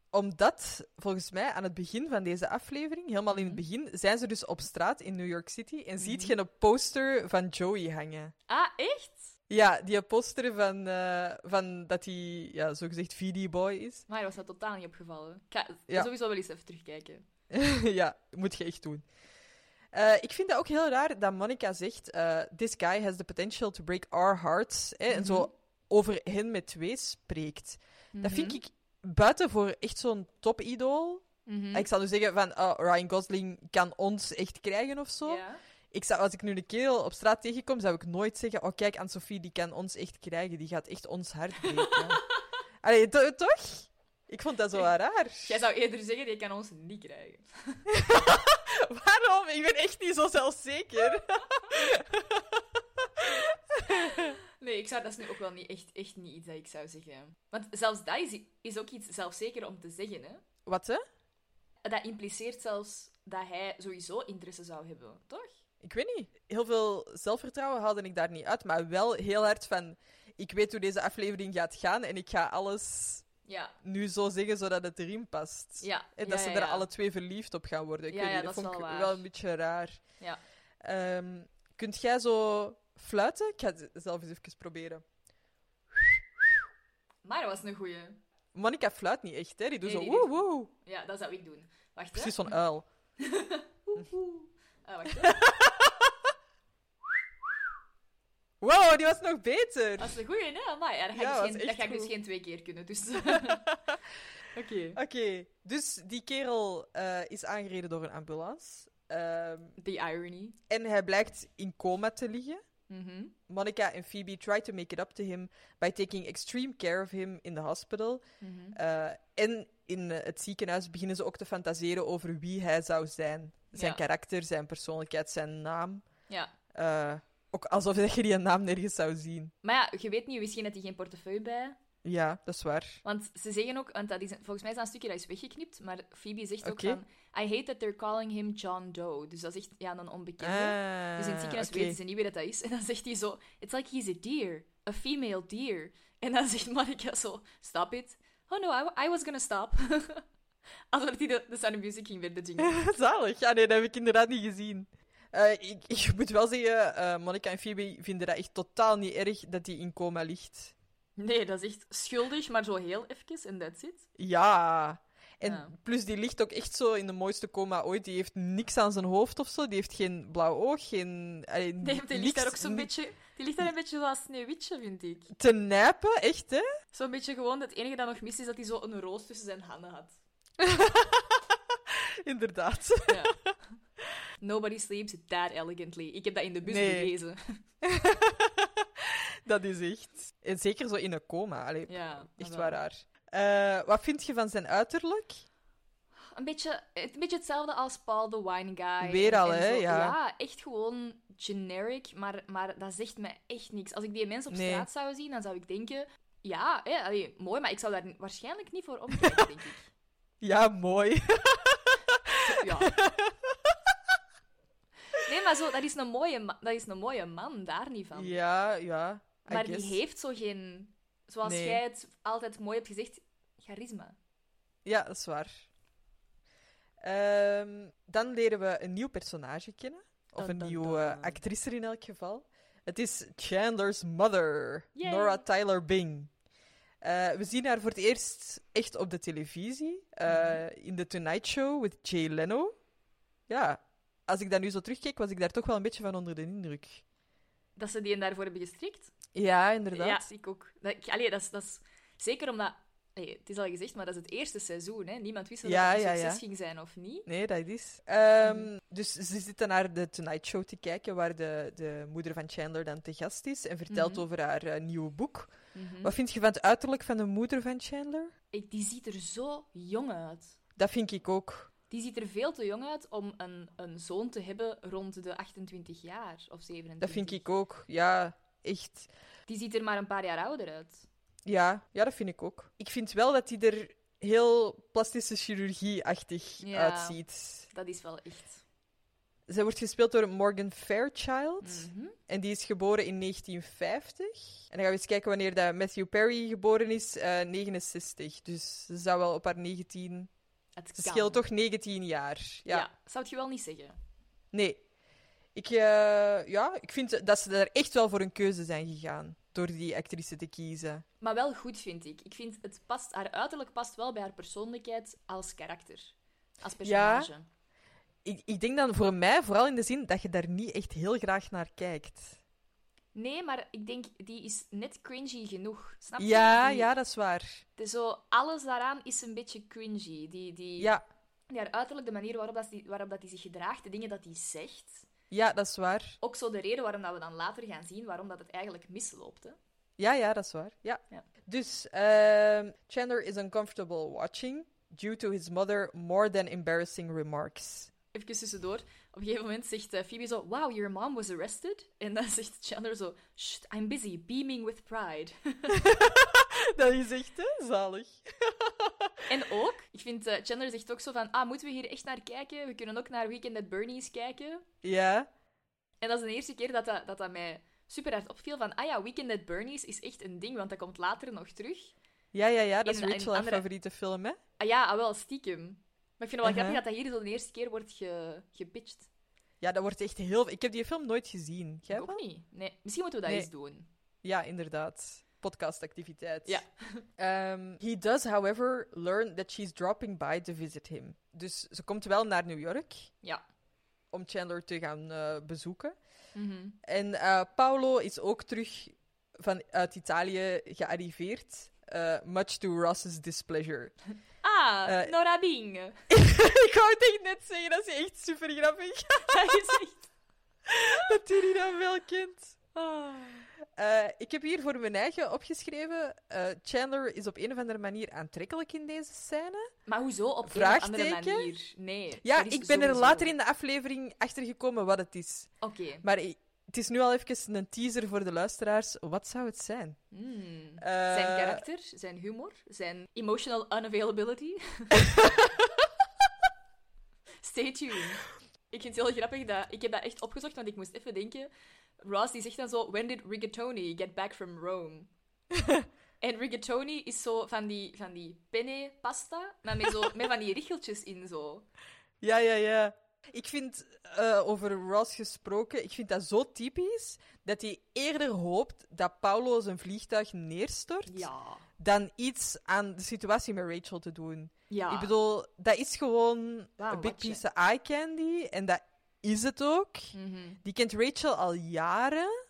Speaker 1: Omdat, volgens mij, aan het begin van deze aflevering, helemaal in het begin, zijn ze dus op straat in New York City en ziet je een poster van Joey hangen.
Speaker 2: Ah, echt?
Speaker 1: Ja, die poster van, eh, van dat hij, ja, zogezegd VD-boy is.
Speaker 2: Maar was dat totaal niet opgevallen. Ik ga
Speaker 1: Ja.
Speaker 2: sowieso wel eens even terugkijken.
Speaker 1: ja, moet je echt doen. Eh, ik vind dat ook heel raar dat Monica zegt: eh, This guy has the potential to break our hearts. Hè, En zo over hen met twee spreekt. Dat vind ik buiten voor echt zo'n topidool. Ik zou nu zeggen van ah, Ryan Gosling kan ons echt krijgen of zo.
Speaker 2: Ja.
Speaker 1: Ik zou, als ik nu een kerel op straat tegenkom, zou ik nooit zeggen: Oh, kijk, Anne-Sophie, die kan ons echt krijgen. Die gaat echt ons hart breken. Allee, to- toch? Ik vond dat zo wel raar.
Speaker 2: Jij zou eerder zeggen, je kan ons niet krijgen.
Speaker 1: Waarom? Ik ben echt niet zo zelfzeker.
Speaker 2: Nee, ik zou, dat is nu ook wel niet, echt, echt niet iets dat ik zou zeggen. Want zelfs dat is, is ook iets zelfzeker om te zeggen, hè.
Speaker 1: Wat, hè?
Speaker 2: Dat impliceert zelfs dat hij sowieso interesse zou hebben, toch?
Speaker 1: Ik weet niet. Heel veel zelfvertrouwen haalde ik daar niet uit, maar wel heel hard van... Ik weet hoe deze aflevering gaat gaan en ik ga alles
Speaker 2: Ja.
Speaker 1: nu zo zeggen zodat het erin past.
Speaker 2: Ja.
Speaker 1: En dat
Speaker 2: ja,
Speaker 1: ze
Speaker 2: ja,
Speaker 1: er
Speaker 2: ja.
Speaker 1: alle twee verliefd op gaan worden. Ik
Speaker 2: Ja,
Speaker 1: weet
Speaker 2: ja,
Speaker 1: niet,
Speaker 2: dat is
Speaker 1: vond ik
Speaker 2: wel waar.
Speaker 1: wel een beetje raar.
Speaker 2: Ja.
Speaker 1: Ehm, kunt jij zo fluiten? Ik ga het zelf eens even proberen.
Speaker 2: Maar dat was een goeie.
Speaker 1: Monica fluit niet echt, hè. Die doet
Speaker 2: Nee,
Speaker 1: zo
Speaker 2: die doet-
Speaker 1: woe woe.
Speaker 2: Ja, dat zou ik doen. Wacht, hè.
Speaker 1: Precies zo'n uil.
Speaker 2: Ah, wacht, hè.
Speaker 1: Wow, die was nog beter.
Speaker 2: Dat is een goeie, hè? Amai, ja, dat ga ik,
Speaker 1: Ja, dat
Speaker 2: dus geen,
Speaker 1: is echt
Speaker 2: dat ga ik dus
Speaker 1: goed.
Speaker 2: geen twee keer kunnen, dus... Oké.
Speaker 1: Oké, dus die kerel eh, is aangereden door een ambulance. Ehm,
Speaker 2: The irony.
Speaker 1: en hij blijkt in coma te liggen.
Speaker 2: Mhm.
Speaker 1: Monica en Phoebe try to make it up to him by taking extreme care of him in the hospital.
Speaker 2: Mhm.
Speaker 1: Eh, en in eh, het ziekenhuis beginnen ze ook te fantaseren over wie hij zou zijn. Zijn
Speaker 2: Ja.
Speaker 1: karakter, zijn persoonlijkheid, zijn naam.
Speaker 2: Ja.
Speaker 1: Eh, ook alsof je die naam nergens zou zien.
Speaker 2: Maar ja, je weet niet, misschien had hij geen portefeuille bij.
Speaker 1: Ja, dat is waar.
Speaker 2: Want ze zeggen ook, want dat is, volgens mij is dat een stukje dat is weggeknipt, maar Phoebe zegt ook
Speaker 1: Oké.
Speaker 2: van, I hate that they're calling him John Doe. Dus dat is echt ja, een onbekende.
Speaker 1: Ah,
Speaker 2: dus in het ziekenhuis
Speaker 1: oké.
Speaker 2: weten ze niet wie dat dat is. En dan zegt hij zo, it's like he's a deer, a female deer. En dan zegt Monica zo, stop it. Oh no, I, wa- I was gonna stop. Alsof hij de, de Sound of Music ging weer de jingle.
Speaker 1: Zalig. Ja, nee, dat heb ik inderdaad niet gezien. Eh, ik, ik moet wel zeggen, eh Monica en Phoebe vinden dat echt totaal niet erg dat hij in coma ligt.
Speaker 2: Nee, dat is echt schuldig, maar zo heel even, en that's it.
Speaker 1: Ja. En
Speaker 2: Ja.
Speaker 1: plus, die ligt ook echt zo in de mooiste coma ooit. Die heeft niks aan zijn hoofd of zo. Die heeft geen blauw oog, geen... allee,
Speaker 2: Die, heeft- die ligt
Speaker 1: niks-
Speaker 2: daar ook zo'n
Speaker 1: ni-
Speaker 2: beetje, die ligt daar een beetje zoals Sneeuwwitje, vind ik.
Speaker 1: Te nijpen, echt, hè?
Speaker 2: Zo'n beetje gewoon, het enige dat nog mis is dat hij zo een roos tussen zijn handen had.
Speaker 1: Inderdaad.
Speaker 2: Ja. Nobody sleeps that elegantly. Ik heb dat in de bus
Speaker 1: Nee.
Speaker 2: gelezen.
Speaker 1: dat is echt... En zeker zo in een coma. Allee,
Speaker 2: Ja,
Speaker 1: echt
Speaker 2: wel.
Speaker 1: waar raar. Eh, wat vind je van zijn uiterlijk?
Speaker 2: Een beetje, een beetje hetzelfde als Paul the Wine Guy.
Speaker 1: Weer al, hè?
Speaker 2: zo.
Speaker 1: Ja.
Speaker 2: echt gewoon generic, maar, maar dat zegt me echt niks. Als ik die mensen op
Speaker 1: Nee.
Speaker 2: straat zou zien, dan zou ik denken... Ja, hè, allee, mooi, maar ik zou daar waarschijnlijk niet voor omkijken, denk ik.
Speaker 1: Ja, mooi.
Speaker 2: Ja. Nee, maar zo, dat, is een mooie ma- dat is een mooie man, daar niet van.
Speaker 1: ja, ja. I
Speaker 2: Maar
Speaker 1: guess.
Speaker 2: die heeft zo geen... Zoals
Speaker 1: Nee.
Speaker 2: jij het altijd mooi hebt gezegd, charisma.
Speaker 1: Ja, dat is waar. Ehm, dan leren we een nieuw personage kennen. Of
Speaker 2: Dun,
Speaker 1: een
Speaker 2: dun,
Speaker 1: nieuwe
Speaker 2: dun.
Speaker 1: actrice in elk geval. Het is Chandler's mother,
Speaker 2: Yay.
Speaker 1: Nora Tyler Bing. Eh, we zien haar voor het eerst echt op de televisie. eh, In The Tonight Show with Jay Leno. Ja, als ik daar nu zo terugkeek, was ik daar toch wel een beetje van onder de indruk.
Speaker 2: Dat ze die en daarvoor hebben gestrikt.
Speaker 1: Ja, inderdaad.
Speaker 2: Ja, ik ook. Dat, ik- allee, dat, is, dat is zeker omdat... allee, het is al gezegd, maar dat is het eerste seizoen. Hè? Niemand wist of
Speaker 1: Ja,
Speaker 2: dat het een
Speaker 1: ja,
Speaker 2: succes
Speaker 1: ja.
Speaker 2: ging zijn of niet.
Speaker 1: Nee, dat is. Ehm, Dus ze zitten naar de Tonight Show te kijken, waar de, de moeder van Chandler dan te gast is en vertelt over haar eh, nieuwe boek. Wat vind je van het uiterlijk van de moeder van Chandler?
Speaker 2: Ik, die ziet er zo jong uit.
Speaker 1: Dat vind ik ook.
Speaker 2: Die ziet er veel te jong uit om een, een zoon te hebben rond de 28 jaar of 27.
Speaker 1: Dat vind ik ook. Ja, echt.
Speaker 2: Die ziet er maar een paar jaar ouder uit.
Speaker 1: Ja, ja dat vind ik ook. Ik vind wel dat hij er heel plastische chirurgie-achtig
Speaker 2: Ja.
Speaker 1: uitziet.
Speaker 2: Dat is wel echt...
Speaker 1: Zij wordt gespeeld door Morgan Fairchild. En die is geboren in 1950. En dan gaan we eens kijken wanneer dat Matthew Perry geboren is. eh 69. Dus ze zou wel op haar 19...
Speaker 2: Het
Speaker 1: Ze
Speaker 2: kan.
Speaker 1: scheelt toch 19 jaar.
Speaker 2: Ja.
Speaker 1: Ja.
Speaker 2: zou het je wel niet zeggen.
Speaker 1: Nee. Ik, eh, ja, ik vind dat ze daar echt wel voor een keuze zijn gegaan. Door die actrice te kiezen.
Speaker 2: Maar wel goed, vind ik. Ik vind het past, haar uiterlijk past wel bij haar persoonlijkheid als karakter. Als personage.
Speaker 1: Ik, ik denk dan voor mij vooral in de zin dat je daar niet echt heel graag naar kijkt.
Speaker 2: Nee, maar ik denk, die is net cringy genoeg. Snap je?
Speaker 1: Ja,
Speaker 2: Die-
Speaker 1: ja, dat is waar.
Speaker 2: het is zo, alles daaraan is een beetje cringy. Die, die,
Speaker 1: Ja,
Speaker 2: die haar uiterlijk, de manier waarop dat die, waarop dat die zich gedraagt, de dingen dat hij zegt.
Speaker 1: ja dat is waar.
Speaker 2: Ook zo de reden waarom dat we dan later gaan zien waarom dat het eigenlijk misloopt. Hè?
Speaker 1: Ja, ja, dat is waar. Ja.
Speaker 2: Ja.
Speaker 1: Dus ehm, Chandler is uncomfortable watching due to his mother more than embarrassing remarks.
Speaker 2: Even tussendoor. Op een gegeven moment zegt eh, Phoebe zo, wow, your mom was arrested. En dan zegt Chandler zo, shh, I'm busy, beaming with pride.
Speaker 1: Dat is echt hè? zalig.
Speaker 2: En ook, ik vind eh, Chandler zegt ook zo van, ah, moeten we hier echt naar kijken? We kunnen ook naar Weekend at Bernie's kijken.
Speaker 1: Ja,
Speaker 2: En dat is de eerste keer dat dat, dat, dat mij super hard opviel van, ah ja, Weekend at Bernie's is echt een ding, want dat komt later nog terug.
Speaker 1: ja, ja, ja dat is
Speaker 2: In- in
Speaker 1: Rachel haar
Speaker 2: andere-
Speaker 1: favoriete film, hè?
Speaker 2: Ah ja, ah wel, stiekem. Maar ik vind het wel
Speaker 1: Uh-huh.
Speaker 2: grappig dat dat hier zo de eerste keer wordt ge, gepitcht.
Speaker 1: Ja, dat wordt echt heel... Ik heb die film nooit gezien. Jij
Speaker 2: Ik
Speaker 1: wel?
Speaker 2: ook niet. Nee, misschien moeten we dat
Speaker 1: Nee.
Speaker 2: eens doen.
Speaker 1: Ja, inderdaad. Podcastactiviteit.
Speaker 2: Ja.
Speaker 1: Ehm, he does, however, learn that she's dropping by to visit him. Dus ze komt wel naar New York
Speaker 2: Ja.
Speaker 1: om Chandler te gaan eh, bezoeken. En eh, Paolo is ook terug van, uit Italië gearriveerd. eh, much to Ross's displeasure.
Speaker 2: Ah,
Speaker 1: Eh,
Speaker 2: Nora Bing.
Speaker 1: Ik wou het echt net zeggen, dat is echt super grappig.
Speaker 2: Dat is echt...
Speaker 1: dat hij die dan wel kent.
Speaker 2: Ah.
Speaker 1: Eh, ik heb hier voor mijn eigen opgeschreven. eh, Chandler is op een of andere manier aantrekkelijk in deze scène.
Speaker 2: Maar hoezo op een of andere
Speaker 1: Vraagteken?
Speaker 2: manier? Nee.
Speaker 1: Ja,
Speaker 2: dat is
Speaker 1: ik ben er
Speaker 2: sowieso.
Speaker 1: later in de aflevering achter gekomen wat het is.
Speaker 2: Oké.
Speaker 1: Maar i- het is nu al even een teaser voor de luisteraars. Wat zou het zijn?
Speaker 2: Hmm.
Speaker 1: Eh,
Speaker 2: Zijn karakter, zijn humor, zijn emotional unavailability. Stay tuned. Ik vind het heel grappig dat... Ik heb dat echt opgezocht, want ik moest even denken. Ross die zegt dan zo... When did Rigatoni get back from Rome? en rigatoni is zo van die, van die penne pasta, maar met, zo, met van die richeltjes in zo.
Speaker 1: Ja, ja, ja. Ik vind, eh, over Ross gesproken, ik vind dat zo typisch dat hij eerder hoopt dat Paolo zijn vliegtuig neerstort
Speaker 2: Ja.
Speaker 1: dan iets aan de situatie met Rachel te doen.
Speaker 2: Ja.
Speaker 1: Ik bedoel, dat is gewoon
Speaker 2: Wauw,
Speaker 1: een big
Speaker 2: watje.
Speaker 1: piece of eye candy. En dat is het ook.
Speaker 2: Mhm.
Speaker 1: Die kent Rachel al jaren.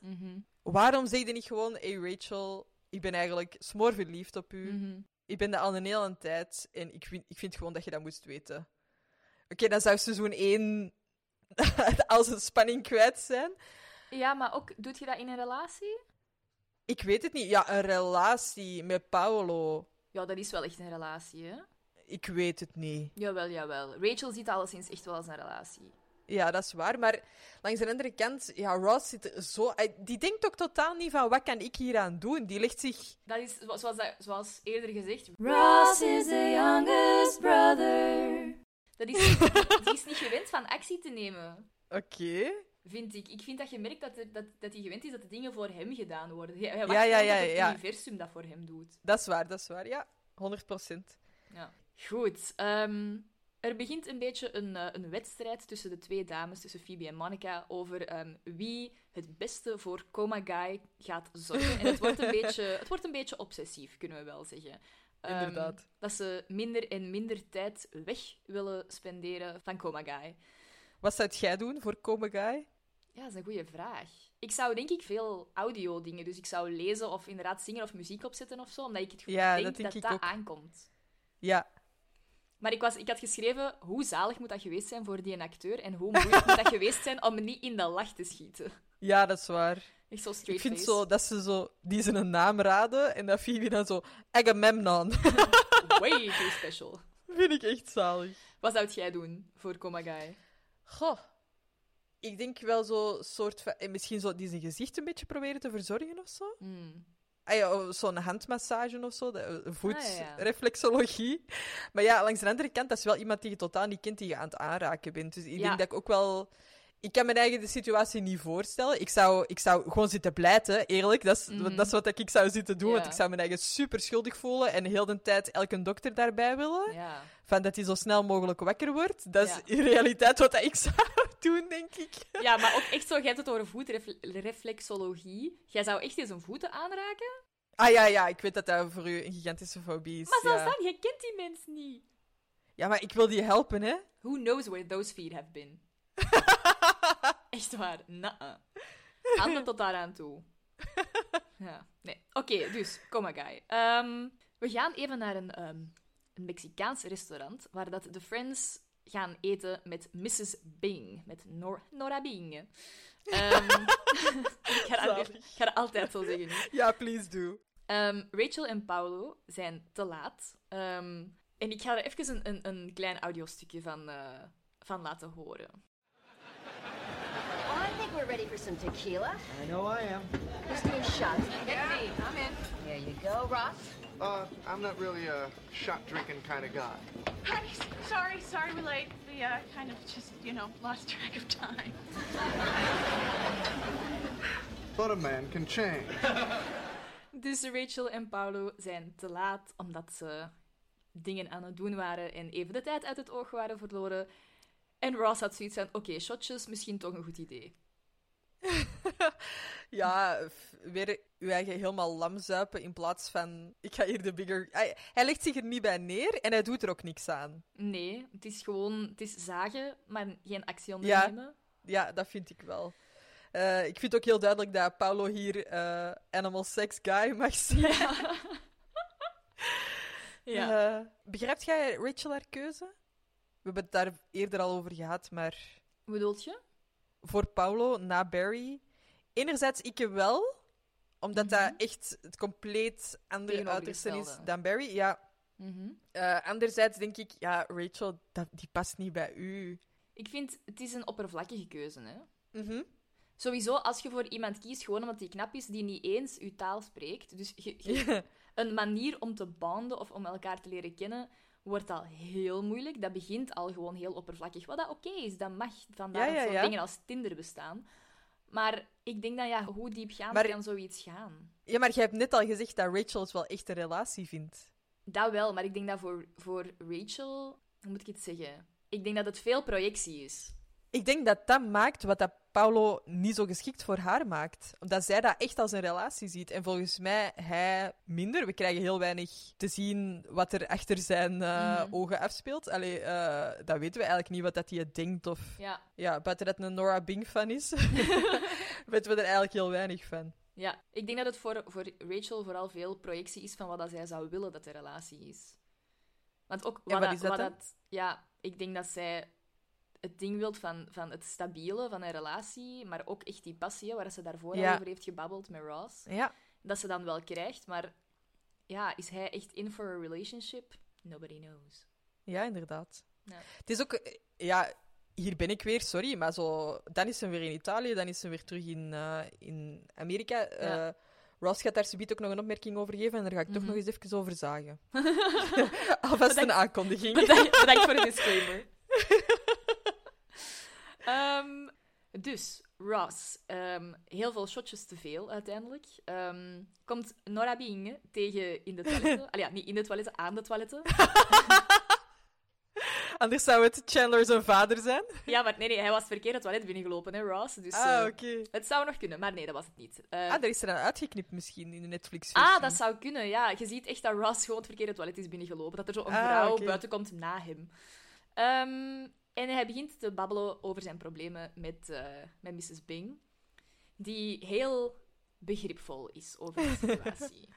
Speaker 1: Waarom zeg je niet gewoon... Hey Rachel, ik ben eigenlijk smoorverliefd op u.
Speaker 2: Mhm.
Speaker 1: Ik ben dat al een hele tijd. En ik vind, ik vind gewoon dat je dat moest weten. Oké, dan zou seizoen 1 als een spanning kwijt zijn.
Speaker 2: Ja, maar ook... Doet je dat in een relatie?
Speaker 1: Ik weet het niet. Ja, een relatie met Paolo.
Speaker 2: Ja, dat is wel echt een relatie, hè?
Speaker 1: Ik weet het niet.
Speaker 2: Jawel, jawel. Rachel ziet alleszins echt wel als een relatie.
Speaker 1: Ja, dat is waar. Maar langs de andere kant, ja, Ross zit er zo... hij- Die denkt ook totaal niet van, wat kan ik hieraan doen? Die legt zich...
Speaker 2: Dat is, zo- zoals, dat- zoals eerder gezegd,
Speaker 4: Ross is the youngest brother.
Speaker 2: dat is, die is niet gewend van actie te nemen,
Speaker 1: Oké.
Speaker 2: vind ik. Ik vind dat je merkt dat hij dat, dat hij gewend is dat de dingen voor hem gedaan worden. Hij, hij
Speaker 1: Ja,
Speaker 2: wacht
Speaker 1: ja,
Speaker 2: gewoon
Speaker 1: ja,
Speaker 2: tot het
Speaker 1: ja.
Speaker 2: universum dat voor hem doet.
Speaker 1: Dat is waar, dat is waar. Ja, 100 procent.
Speaker 2: Ja. Goed. ehm, er begint een beetje een, eh, een wedstrijd tussen de twee dames, tussen Phoebe en Monica, over ehm, wie het beste voor Coma Guy gaat zorgen. En het wordt een beetje, het wordt een beetje obsessief, kunnen we wel zeggen. Ehm,
Speaker 1: Inderdaad.
Speaker 2: dat ze minder en minder tijd weg willen spenderen van Coma Guy.
Speaker 1: Wat zou jij doen voor Come Guy?
Speaker 2: Ja, dat is een goede vraag. Ik zou denk ik veel audio dingen, dus ik zou lezen of inderdaad zingen of muziek opzetten of zo, omdat ik het gewoon
Speaker 1: Ja,
Speaker 2: denk
Speaker 1: dat denk
Speaker 2: dat
Speaker 1: ik
Speaker 2: dat
Speaker 1: ook.
Speaker 2: aankomt.
Speaker 1: Ja.
Speaker 2: Maar ik, was, ik had geschreven, hoe zalig moet dat geweest zijn voor die acteur en hoe moeilijk moet dat geweest zijn om niet in de lach te schieten.
Speaker 1: Ja, dat is waar.
Speaker 2: Echt zo straight
Speaker 1: Ik vind
Speaker 2: face.
Speaker 1: zo dat ze zo... Die ze een naam raden en dat Phoebe dan zo... Agamemnon.
Speaker 2: Way too special.
Speaker 1: vind ik echt zalig.
Speaker 2: Wat zou jij doen voor Coma Guy?
Speaker 1: Goh. Ik denk wel zo soort van... en Misschien zo die zijn gezicht een beetje proberen te verzorgen of zo. Ah ja, of zo'n handmassage of zo, de- eh, voetreflexologie. Maar ja, langs de andere kant, dat is wel iemand die je totaal niet kent, die je aan het aanraken bent. Dus ik
Speaker 2: Ja.
Speaker 1: denk dat ik ook wel Ik kan mijn eigen de situatie niet voorstellen. Ik zou, ik zou gewoon zitten pleiten, eerlijk. Dat is, dat is wat ik zou zitten doen. Want
Speaker 2: Ja.
Speaker 1: ik zou mijn eigen super schuldig voelen en heel de tijd elke dokter daarbij willen.
Speaker 2: Ja.
Speaker 1: Van dat hij zo snel mogelijk wakker wordt. Dat is
Speaker 2: Ja.
Speaker 1: in realiteit wat ik zou doen, denk ik.
Speaker 2: ja, maar ook echt zo, jij hebt het over voetreflexologie. Jij zou echt eens een voeten aanraken.
Speaker 1: Ah ja, ja, ik weet dat dat voor u een gigantische fobie is.
Speaker 2: Maar zelfs
Speaker 1: ja.
Speaker 2: dan, jij kent die mens niet.
Speaker 1: ja, maar ik wil die helpen, hè?
Speaker 2: Who knows where those feet have been? Echt waar, na. Handen tot daaraan toe. Ja, nee. Oké, dus, coma guy. Ehm, we gaan even naar een, ehm, een Mexicaans restaurant waar dat de Friends gaan eten met Mrs. Bing. Met Nor- Nora Bing. Ehm, ik ga dat, weer- ik ga dat altijd zo zeggen. nu.
Speaker 1: Ja, please do.
Speaker 2: Ehm, Rachel en Paolo zijn te laat. Ehm, en ik ga er even een, een, een klein audiostukje van, eh, van laten horen.
Speaker 4: I think we're ready for some tequila.
Speaker 8: I know I am.
Speaker 4: Who's doing shots? I'm in. Here you go, Ross.
Speaker 8: Uh, I'm not really a shot drinking kind of guy.
Speaker 5: Honey, sorry, sorry we're late. We uh, kind of just, you know, lost track of time.
Speaker 8: But a man can change.
Speaker 2: Dus Rachel en Paolo zijn te laat omdat ze dingen aan het doen waren en even de tijd uit het oog waren verloren. En Ross had zoiets van: oké, shotjes, misschien toch een goed idee.
Speaker 1: Ja, f- weer uw eigen helemaal lam zuipen in plaats van... Ik ga hier de bigger... Hij, hij legt zich er niet bij neer en hij doet er ook niks aan.
Speaker 2: Nee, het is gewoon het is zagen, maar geen actie ondernemen.
Speaker 1: Ja, dat vind ik wel. Eh, ik vind ook heel duidelijk dat Paolo hier eh, Animal Sex Guy mag zien. Eh, begrijpt jij Rachel haar keuze? We hebben het daar eerder al over gehad, maar...
Speaker 2: Bedoelt je?
Speaker 1: voor Paulo na Barry. Enerzijds ik wel, omdat dat echt het compleet andere uiterste is
Speaker 2: Tegenovergestelde.
Speaker 1: dan Barry. Ja. Eh, anderzijds denk ik, ja, Rachel, dat, die past niet bij u.
Speaker 2: Ik vind het is een oppervlakkige keuze. Hè?
Speaker 1: Mhm.
Speaker 2: Sowieso, als je voor iemand kiest, gewoon omdat die knap is, die niet eens uw taal spreekt. Dus je- je- een manier om te banden of om elkaar te leren kennen, wordt al heel moeilijk. Dat begint al gewoon heel oppervlakkig. Wat dat oké is, dat mag. Vandaar
Speaker 1: Ja, ja,
Speaker 2: dat
Speaker 1: ja.
Speaker 2: zo'n dingen als Tinder bestaan. Maar ik denk dat, ja, hoe diep gaan
Speaker 1: Maar-
Speaker 2: kan zoiets gaan?
Speaker 1: Ja, maar jij hebt net al gezegd dat Rachel het wel echt een relatie vindt.
Speaker 2: Dat wel, maar ik denk dat voor, voor Rachel... Hoe moet ik het zeggen? Ik denk dat het veel projectie is.
Speaker 1: Ik denk dat dat maakt wat dat Paulo niet zo geschikt voor haar maakt. Omdat zij dat echt als een relatie ziet. En volgens mij hij minder. We krijgen heel weinig te zien wat er achter zijn eh, ogen afspeelt. Allee, eh, dat weten we eigenlijk niet wat dat hij denkt. Of...
Speaker 2: Ja,
Speaker 1: Ja, buiten dat het een Nora Bing fan is, weten we er eigenlijk heel weinig van.
Speaker 2: Ja, ik denk dat het voor, voor Rachel vooral veel projectie is van wat dat zij zou willen dat de relatie is. Want ook wat,
Speaker 1: wat is dat
Speaker 2: wat
Speaker 1: dan?
Speaker 2: Ja, ik denk dat zij het ding wilt van, van het stabiele van een relatie, maar ook echt die passie hè, waar ze daarvoor al
Speaker 1: Ja.
Speaker 2: over heeft gebabbeld met Ross.
Speaker 1: Ja.
Speaker 2: Dat ze dan wel krijgt, maar ja, is hij echt in for a relationship? Nobody knows.
Speaker 1: Ja, inderdaad.
Speaker 2: Ja.
Speaker 1: Het is ook, eh, ja, hier ben ik weer, sorry, maar zo, dan is ze weer in Italië, dan is ze weer terug in, eh, in Amerika. Eh, Ross gaat daar subiet ook nog een opmerking over geven en daar ga ik
Speaker 2: Mhm.
Speaker 1: toch nog eens even over zagen. Alvast een aankondiging.
Speaker 2: Bedankt, bedankt voor de disclaimer. Ehm, dus, Ross. ehm, heel veel shotjes te veel, uiteindelijk. Ehm, komt Nora Bing tegen in de toiletten. Allee, ja, niet in de toiletten, aan de toiletten.
Speaker 1: Anders zou het Chandler zijn vader zijn.
Speaker 2: Ja, maar nee, nee, hij was het verkeerde toilet binnengelopen, hè, Ross. Dus
Speaker 1: Ah,
Speaker 2: eh,
Speaker 1: oké.
Speaker 2: het zou nog kunnen, maar nee, dat was het niet. Eh,
Speaker 1: Ah, daar is er aan uitgeknipt misschien in de netflix
Speaker 2: ah, dat zou kunnen, ja. Je ziet echt dat Ross gewoon het verkeerde toilet is binnengelopen. Dat er zo een
Speaker 1: Ah,
Speaker 2: vrouw
Speaker 1: oké.
Speaker 2: buiten komt na hem. Ehm, en hij begint te babbelen over zijn problemen met, eh, met Mrs. Bing. Die heel begripvol is over de situatie.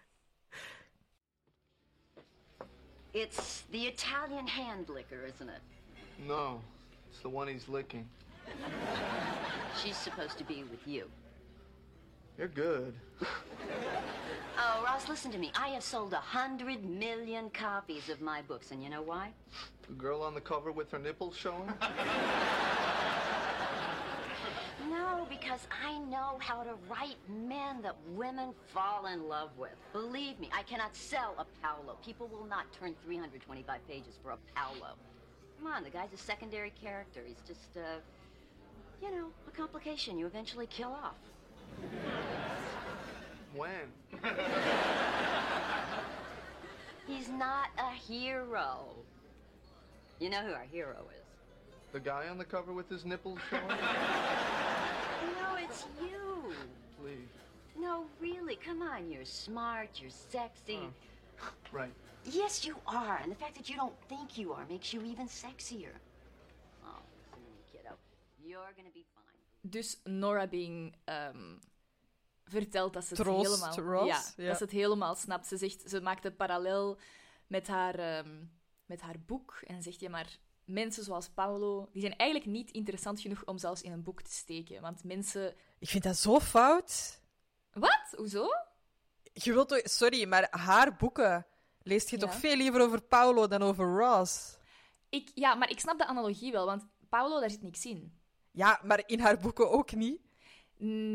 Speaker 4: It's the Italian hand liquor, isn't it?
Speaker 8: No, it's the one he's licking.
Speaker 4: She's supposed to be with you.
Speaker 8: You're good.
Speaker 4: Oh, Ross, listen to me. I have sold a hundred million copies of my books, and you know why?
Speaker 8: The girl on the cover with her nipples showing?
Speaker 4: No, because I know how to write men that women fall in love with. Believe me, I cannot sell a Paolo. People will not turn 325 pages for a Paolo. Come on, the guy's a secondary character. He's just, uh,
Speaker 9: You know, a complication you eventually kill off.
Speaker 8: When?
Speaker 9: He's not a hero. You know who our hero is?
Speaker 8: The guy on the cover with his nipples showing?
Speaker 9: No, it's you.
Speaker 8: Please.
Speaker 9: No, really, come on. You're smart, you're sexy.
Speaker 8: Right.
Speaker 9: Yes, you are. And the fact that you don't think you are makes you even sexier. Oh, listen to me, kiddo. You're gonna be fine.
Speaker 2: Dus Nora being ehm, vertelt dat ze het
Speaker 1: Troost
Speaker 2: helemaal...
Speaker 1: Ross,
Speaker 2: ja,
Speaker 1: ja.
Speaker 2: dat ze het helemaal snapt. Ze, zegt, ze maakt een parallel met haar, ehm, met haar boek en zegt, ja maar, mensen zoals Paolo, die zijn eigenlijk niet interessant genoeg om zelfs in een boek te steken. Want mensen...
Speaker 1: Ik vind dat zo fout.
Speaker 2: Wat? Hoezo?
Speaker 1: Je wilt toch... Sorry, maar haar boeken leest je
Speaker 2: Ja.
Speaker 1: toch veel liever over Paolo dan over Ross?
Speaker 2: Ik, ja, maar ik snap de analogie wel, want Paolo, daar zit niks in.
Speaker 1: Ja, maar in haar boeken ook niet.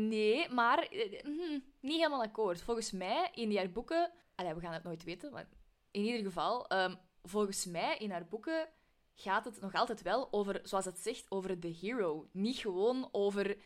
Speaker 2: Nee, maar eh, hm, niet helemaal akkoord. Volgens mij in die haar boeken. Allee, we gaan het nooit weten, maar in ieder geval, ehm, volgens mij in haar boeken gaat het nog altijd wel over, zoals het zegt, over de hero. Niet gewoon over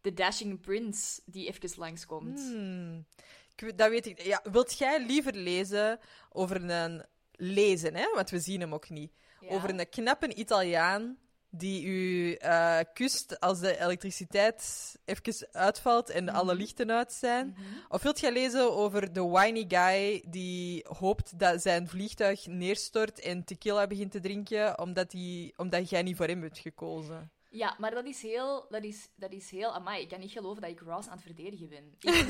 Speaker 2: de dashing prince die even langskomt.
Speaker 1: Hmm, Ik weet- dat weet ik. Ja, wilt jij liever lezen over een lezen, hè? want we zien hem ook niet.
Speaker 2: Ja.
Speaker 1: Over een knappe Italiaan die u eh, kust als de elektriciteit even uitvalt en alle lichten uit zijn. Of wilt jij lezen over de whiny guy die hoopt dat zijn vliegtuig neerstort en tequila begint te drinken omdat, die, omdat jij niet voor hem hebt gekozen?
Speaker 2: Ja, maar dat is heel... Dat is, dat is heel... Amai, ik kan niet geloven dat ik Ross aan het verdedigen ben. Ik-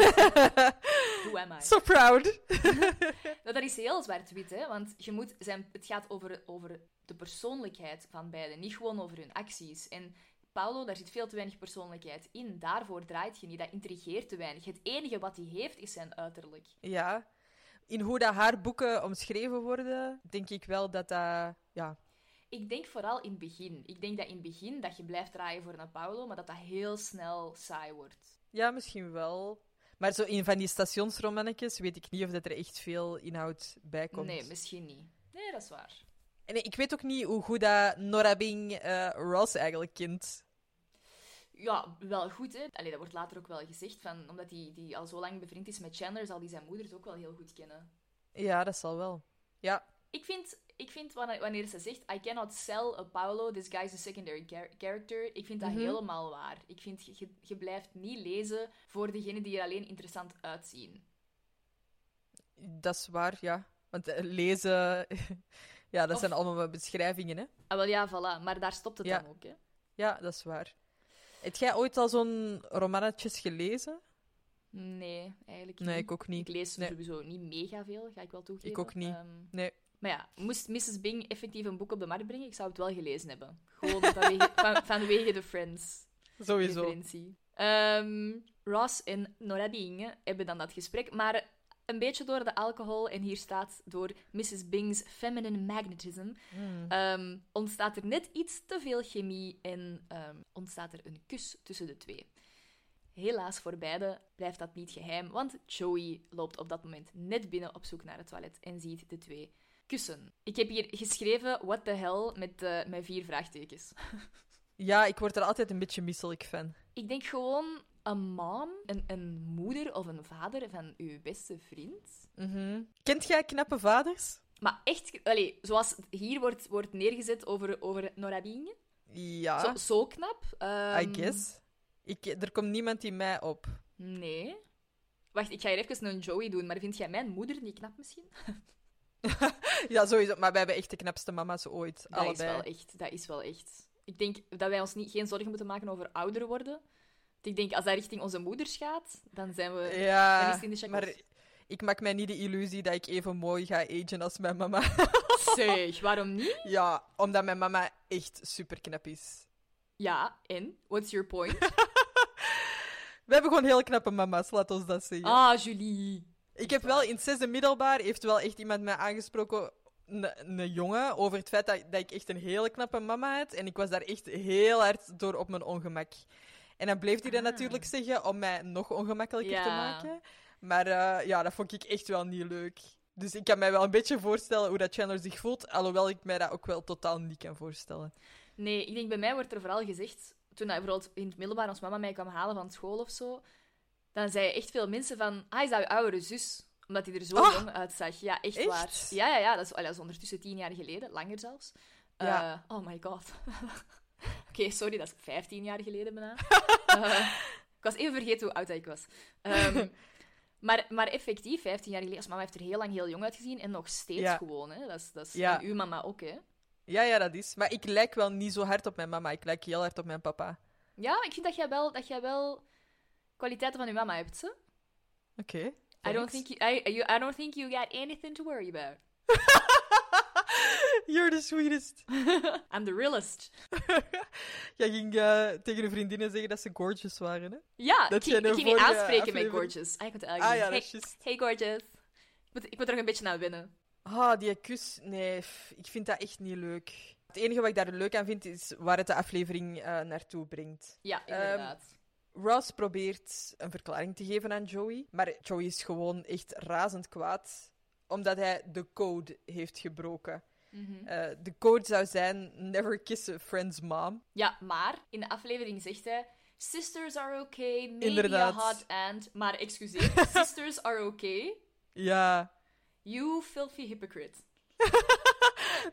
Speaker 2: Who am I?
Speaker 1: So proud!
Speaker 2: Nou, dat is heel zwart-wit, hè? Want je moet zijn, het gaat over, over de persoonlijkheid van beiden, niet gewoon over hun acties. En Paolo, daar zit veel te weinig persoonlijkheid in. Daarvoor draait je niet, dat intrigeert te weinig. Het enige wat hij heeft is zijn uiterlijk.
Speaker 1: Ja. In hoe dat haar boeken omschreven worden, denk ik wel dat dat... Ja.
Speaker 2: Ik denk vooral in het begin. Ik denk dat in het begin dat je blijft draaien voor een Paolo, maar dat dat heel snel saai wordt.
Speaker 1: ja, misschien wel. Maar zo in van die stationsromannetjes weet ik niet of dat er echt veel inhoud bij komt.
Speaker 2: Nee, misschien niet. Nee, dat is waar.
Speaker 1: En ik weet ook niet hoe goed dat Nora Bing eh, Ross eigenlijk kent.
Speaker 2: Ja, wel goed, hè. Allee, dat wordt later ook wel gezegd, van, omdat hij die, die al zo lang bevriend is met Chandler, zal hij zijn moeders ook wel heel goed kennen.
Speaker 1: Ja, dat zal wel. Ja,
Speaker 2: Ik vind, ik vind wanneer, wanneer ze zegt, I cannot sell a Paolo, this guy's a secondary char- character, ik vind dat
Speaker 1: Mhm.
Speaker 2: helemaal waar. Ik vind, je- je, je blijft niet lezen voor degenen die er alleen interessant uitzien.
Speaker 1: dat is waar, ja. Want eh, lezen... ja, dat
Speaker 2: Of-
Speaker 1: zijn allemaal maar beschrijvingen, hè.
Speaker 2: Ah, wel ja, voilà. Maar daar stopt het
Speaker 1: Ja.
Speaker 2: dan ook, hè.
Speaker 1: Ja, dat is waar. Heb jij ooit al zo'n romannetjes gelezen?
Speaker 2: Nee, eigenlijk niet.
Speaker 1: Nee, ik ook niet.
Speaker 2: Ik lees
Speaker 1: Nee.
Speaker 2: sowieso niet mega veel, ga ik wel toegeven.
Speaker 1: Ik ook niet.
Speaker 2: Ehm,
Speaker 1: Nee.
Speaker 2: maar ja, moest Mrs. Bing effectief een boek op de markt brengen, ik zou het wel gelezen hebben. Gewoon vanwege, van, vanwege de Friends.
Speaker 1: Sowieso.
Speaker 2: referentie. Ehm, Ross en Nora Bing hebben dan dat gesprek, maar een beetje door de alcohol, en hier staat door Mrs. Bing's feminine magnetism, ehm, ontstaat er net iets te veel chemie en ehm, ontstaat er een kus tussen de twee. Helaas voor beide blijft dat niet geheim, want Joey loopt op dat moment net binnen op zoek naar het toilet en ziet de twee kussen. Ik heb hier geschreven what the hell met, eh, met vier vraagtekens.
Speaker 1: Ja, ik word er altijd een beetje misselijk van.
Speaker 2: Ik denk gewoon een mom, een, een moeder of een vader van uw beste vriend. Mhm.
Speaker 1: Kent jij knappe vaders?
Speaker 2: Maar echt, allee, zoals hier wordt, wordt neergezet over, over Nora Bing.
Speaker 1: Ja,
Speaker 2: Zo, zo knap.
Speaker 1: Ah. I
Speaker 2: Ehm,
Speaker 1: guess. Ik, er komt niemand in mij op.
Speaker 2: Nee. Wacht, ik ga hier even een Joey doen, maar vind jij mijn moeder niet knap misschien?
Speaker 1: Ja, sowieso. Maar wij hebben echt de knapste mama's ooit.
Speaker 2: Dat is
Speaker 1: allebei.
Speaker 2: wel echt. Dat is wel echt. Ik denk dat wij ons niet, geen zorgen moeten maken over ouder worden. Want Ik denk, als dat richting onze moeders gaat, dan zijn we...
Speaker 1: Ja,
Speaker 2: Dan eh, is het in de chakras.
Speaker 1: maar ik maak mij niet de illusie dat ik even mooi ga agen als mijn mama.
Speaker 2: Zeg, waarom niet?
Speaker 1: ja, omdat mijn mama echt super knap is.
Speaker 2: Ja, en? What's your point?
Speaker 1: We hebben gewoon heel knappe mama's, laat ons dat zeggen.
Speaker 2: Ah, Julie.
Speaker 1: Ik heb wel in het zesde middelbaar heeft wel echt iemand mij aangesproken, een een jongen, over het feit dat, dat ik echt een hele knappe mama had. En ik was daar echt heel hard door op mijn ongemak. En dan bleef hij dat natuurlijk zeggen om mij nog ongemakkelijker te
Speaker 2: Ja.
Speaker 1: maken. Maar eh, ja, dat vond ik echt wel niet leuk. Dus ik kan mij wel een beetje voorstellen hoe dat Chandler zich voelt, alhoewel ik mij dat ook wel totaal niet kan voorstellen.
Speaker 2: Nee, ik denk bij mij wordt er vooral gezegd toen dat bijvoorbeeld in het middelbaar ons mama mij kwam halen van school of zo, dan zeiden echt veel mensen van, ah, is dat je oudere zus? Omdat hij er zo
Speaker 1: Ah.
Speaker 2: jong uitzag. Ja, echt,
Speaker 1: Echt?
Speaker 2: waar. Ja, ja, ja. Dat is, allee, dat is ondertussen tien jaar geleden, langer zelfs.
Speaker 1: Ja.
Speaker 2: Eh, oh my god. Oké, sorry, dat is 15 jaar geleden bijna. Eh, ik was even vergeten hoe oud dat ik was. Ehm, maar, maar effectief, 15 jaar geleden, als mama heeft er heel lang heel jong uitgezien en nog steeds
Speaker 1: Ja.
Speaker 2: gewoon. Hè? Dat is, dat is
Speaker 1: Ja.
Speaker 2: en uw mama ook, hè?
Speaker 1: Ja, ja, dat is. Maar ik lijk wel niet zo hard op mijn mama. Ik lijk heel hard op mijn papa.
Speaker 2: Ja, maar ik vind dat jij wel, dat jij wel kwaliteiten van uw mama hebt. Hè?
Speaker 1: Oké.
Speaker 2: I, don't
Speaker 1: thanks.
Speaker 2: think you, I, you, I don't think you got anything to worry about.
Speaker 1: You're the sweetest.
Speaker 2: I'm the realest.
Speaker 1: Jij ging eh, tegen een vriendinnen zeggen dat ze gorgeous waren, hè?
Speaker 2: Ja,
Speaker 1: Dat
Speaker 2: ik, ging-
Speaker 1: jij
Speaker 2: ik
Speaker 1: de
Speaker 2: ging niet
Speaker 1: vorige
Speaker 2: aanspreken met
Speaker 1: aflevering-
Speaker 2: gorgeous. Ah, ik moet eigenlijk
Speaker 1: Ah ja,
Speaker 2: zeggen,
Speaker 1: dat is
Speaker 2: hey,
Speaker 1: juist.
Speaker 2: hey gorgeous. Ik moet, ik moet er nog een beetje naar winnen.
Speaker 1: Ah, die kus. Nee, pff, ik vind dat echt niet leuk. Het enige wat ik daar leuk aan vind, is waar het de aflevering eh, naartoe brengt.
Speaker 2: Ja, inderdaad.
Speaker 1: Ross probeert een verklaring te geven aan Joey, maar Joey is gewoon echt razend kwaad, omdat hij de code heeft gebroken. Eh, de code zou zijn, never kiss a friend's mom.
Speaker 2: Ja, maar in de aflevering zegt hij... Sisters are okay, maybe
Speaker 1: Inderdaad.
Speaker 2: a hot aunt. Maar excuseer, sisters are okay.
Speaker 1: Ja,
Speaker 2: You filthy hypocrite.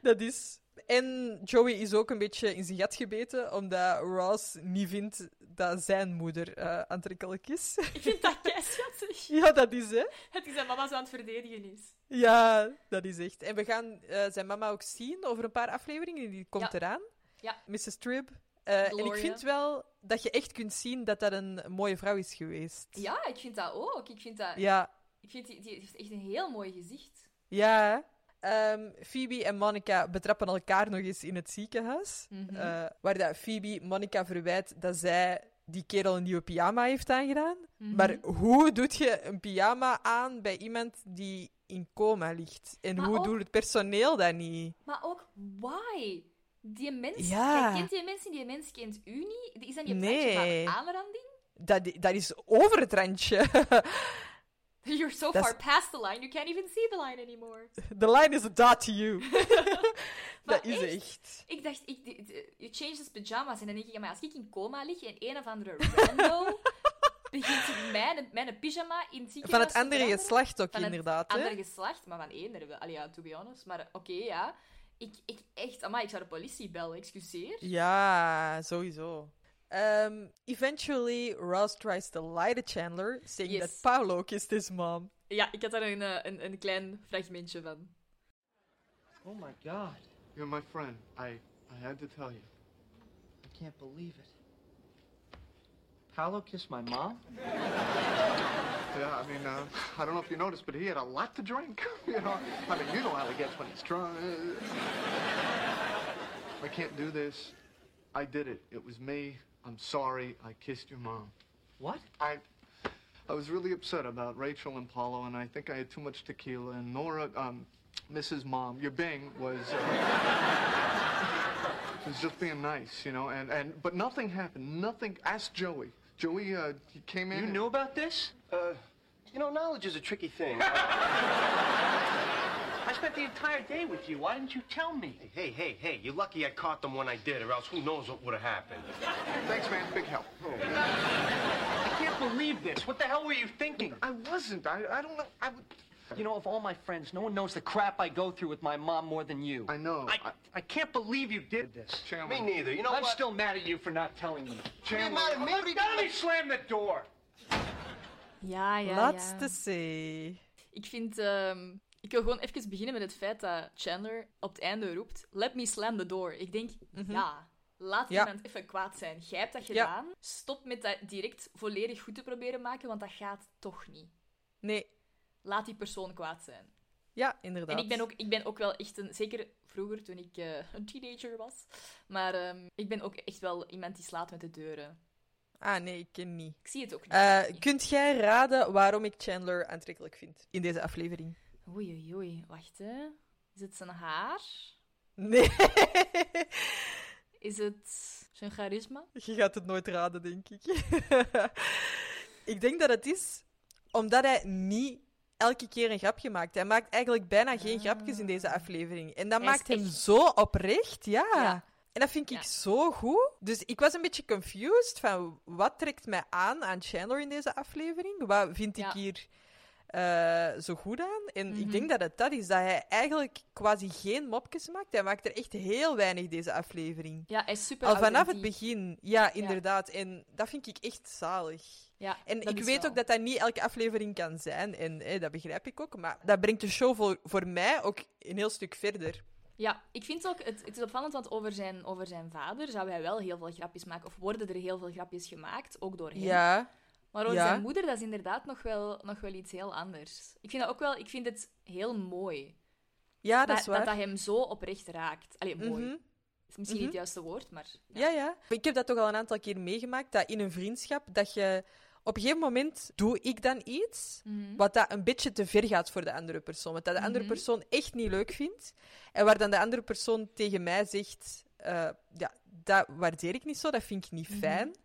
Speaker 1: Dat is. En Joey is ook een beetje in zijn gat gebeten, omdat Ross niet vindt dat zijn moeder eh, aantrekkelijk is.
Speaker 2: Ik vind dat kei schattig.
Speaker 1: ja, dat is hè.
Speaker 2: Het is zijn mama zo aan het verdedigen is.
Speaker 1: Ja, dat is echt. En we gaan eh, zijn mama ook zien over een paar afleveringen. Die komt
Speaker 2: Ja.
Speaker 1: eraan.
Speaker 2: Ja.
Speaker 1: Mrs. Tribb. Eh, en ik
Speaker 2: Gloria.
Speaker 1: vind wel dat je echt kunt zien dat dat een mooie vrouw is geweest.
Speaker 2: Ja, ik vind dat ook. Ik vind dat...
Speaker 1: Ja,
Speaker 2: Ik vind die, die heeft echt een heel mooi gezicht.
Speaker 1: Ja. hè. Ehm, Phoebe en Monica betrappen elkaar nog eens in het ziekenhuis.
Speaker 2: Mhm.
Speaker 1: Eh, waar dat Phoebe Monica verwijt dat zij die kerel een nieuwe pyjama heeft aangedaan.
Speaker 2: Mhm.
Speaker 1: Maar hoe doet je een pyjama aan bij iemand die in coma ligt? En
Speaker 2: Maar
Speaker 1: hoe
Speaker 2: ook-
Speaker 1: doet het personeel dat niet?
Speaker 2: Maar ook, why? Die mens...
Speaker 1: Ja.
Speaker 2: Jij kent die mensen, die mens kent u niet. Is dat niet een
Speaker 1: Nee.
Speaker 2: plekje van aanranding?
Speaker 1: Dat, dat is over het randje.
Speaker 2: You're so
Speaker 1: Dat is-
Speaker 2: far past the line, you can't even see the line anymore.
Speaker 1: The line is dot to you.
Speaker 2: Maar
Speaker 1: dat is
Speaker 2: echt?
Speaker 1: echt.
Speaker 2: Ik dacht, ik, de- de- you change his pyjama's. En dan denk ik, ja, maar als ik in coma lig en een of andere rando begint mijn, mijn pyjama in
Speaker 1: Van
Speaker 2: het ziekenhuis
Speaker 1: het
Speaker 2: te
Speaker 1: andere
Speaker 2: veranderen.
Speaker 1: geslacht ook,
Speaker 2: Van het
Speaker 1: inderdaad. hè?
Speaker 2: andere geslacht, maar van eender wel. Allee, ja, to be honest. Maar oké, ja. Ik, ik echt, amai, ik zou de politie bellen, excuseer.
Speaker 1: Ja, sowieso. Um, eventually, Ross tries to lie to Chandler, saying
Speaker 2: Yes.
Speaker 1: that Paolo kissed his mom.
Speaker 2: Ja, ik had daar een, eh, een, een klein fragmentje van.
Speaker 10: Oh my god,
Speaker 8: You're my friend. I I had to tell you.
Speaker 10: I can't believe it. Paolo kissed my mom?
Speaker 8: Yeah, I mean, uh, I don't know if you noticed, but he had a lot to drink. you know, I mean, you know how he gets when he's drunk. I can't do this. I did it. It was me. I'm sorry. I kissed your mom.
Speaker 10: What?
Speaker 8: I I was really upset about Rachel and Paulo, and I think I had too much tequila. And Nora, um, Mrs. Mom, your Bing was uh, was just being nice, you know. And and but nothing happened. Nothing. Ask Joey. Joey, uh, he came in.
Speaker 10: You
Speaker 8: and-
Speaker 10: knew about this?
Speaker 7: Uh, you know, knowledge is a tricky thing.
Speaker 10: I spent the entire day with you. Why didn't you tell me?
Speaker 7: hey, hey, hey, you're lucky I caught them when I did, or else who knows what would have happened.
Speaker 8: Thanks, man. Big help.
Speaker 10: I can't believe this. What the hell were you thinking?
Speaker 8: I wasn't. I I don't know. I would.
Speaker 10: You know, of all my friends, no one knows the crap I go through with my mom more than you.
Speaker 8: I know.
Speaker 10: I, I can't believe you did this.
Speaker 8: Chandler.
Speaker 7: neither. You know
Speaker 10: I'm
Speaker 7: what?
Speaker 10: still mad at you for not telling me.
Speaker 8: Chandler.
Speaker 10: Look, Donnie slammed the door.
Speaker 2: Ja, ja,
Speaker 1: Lots to say.
Speaker 2: Ik vind... ehm, ik wil gewoon even beginnen met het feit dat Chandler op het einde roept... Let me slam the door. Ik denk, ja... Laat
Speaker 1: Mhm. Ja.
Speaker 2: iemand even kwaad zijn. Jij hebt dat
Speaker 1: Ja.
Speaker 2: gedaan. Stop met dat direct volledig goed te proberen maken, want dat gaat toch niet.
Speaker 1: Nee,
Speaker 2: Laat die persoon kwaad zijn.
Speaker 1: ja, inderdaad.
Speaker 2: En ik ben, ook, ik ben ook wel echt een... Zeker vroeger, toen ik eh, een teenager was. Maar ehm, ik ben ook echt wel iemand die slaat met de deuren.
Speaker 1: Ah, nee, ik ken niet.
Speaker 2: Ik zie het ook niet.
Speaker 1: Eh,
Speaker 2: Ik-
Speaker 1: kunt jij raden waarom ik Chandler aantrekkelijk vind in deze aflevering?
Speaker 2: Oei, oei, oei. Wacht, hè. Is het zijn haar?
Speaker 1: Nee,
Speaker 2: Is het zijn charisma?
Speaker 1: je gaat het nooit raden, denk ik. ik denk dat het is omdat hij niet elke keer een grapje maakt. Hij maakt eigenlijk bijna geen grapjes in deze aflevering. En dat
Speaker 2: Hij is
Speaker 1: maakt hem
Speaker 2: echt-
Speaker 1: zo oprecht, ja. En dat vind ik zo goed. Dus ik was een beetje confused van wat trekt mij aan aan Chandler in deze aflevering? Wat vind ik
Speaker 2: Ja.
Speaker 1: hier eh, zo goed aan? En ik denk dat het dat is, dat hij eigenlijk quasi geen mopjes maakt. Hij maakt er echt heel weinig deze aflevering.
Speaker 2: Ja, hij is super
Speaker 1: Al Ah, vanaf het
Speaker 2: authentiek.
Speaker 1: begin, ja, inderdaad. En dat vind ik echt zalig.
Speaker 2: Ja,
Speaker 1: En
Speaker 2: dat
Speaker 1: ik
Speaker 2: is
Speaker 1: weet
Speaker 2: wel.
Speaker 1: ook dat dat niet elke aflevering kan zijn. En eh, dat begrijp ik ook. Maar dat brengt de show voor, voor mij ook een heel stuk verder.
Speaker 2: Ja, ik vind ook, het, het is opvallend, want over zijn, over zijn vader zou hij wel heel veel grapjes maken. Of worden er heel veel grapjes gemaakt, ook door hem.
Speaker 1: Ja.
Speaker 2: Maar over
Speaker 1: ja.
Speaker 2: zijn moeder, dat is inderdaad nog wel, nog wel iets heel anders. Ik vind dat ook wel, ik vind het heel mooi.
Speaker 1: Ja, Ah, dat, is
Speaker 2: dat,
Speaker 1: waar.
Speaker 2: dat hem zo oprecht raakt. Allee, mooi.
Speaker 1: Mhm.
Speaker 2: Is misschien niet het juiste woord, maar...
Speaker 1: Ja, ja. Ik heb dat toch al een aantal keer meegemaakt, dat in een vriendschap, dat je... Op een gegeven moment doe ik dan iets wat dat een beetje te ver gaat voor de andere persoon. Wat dat de andere persoon echt niet leuk vindt. En waar dan de andere persoon tegen mij zegt... eh, ja, dat waardeer ik niet zo, dat vind ik niet fijn.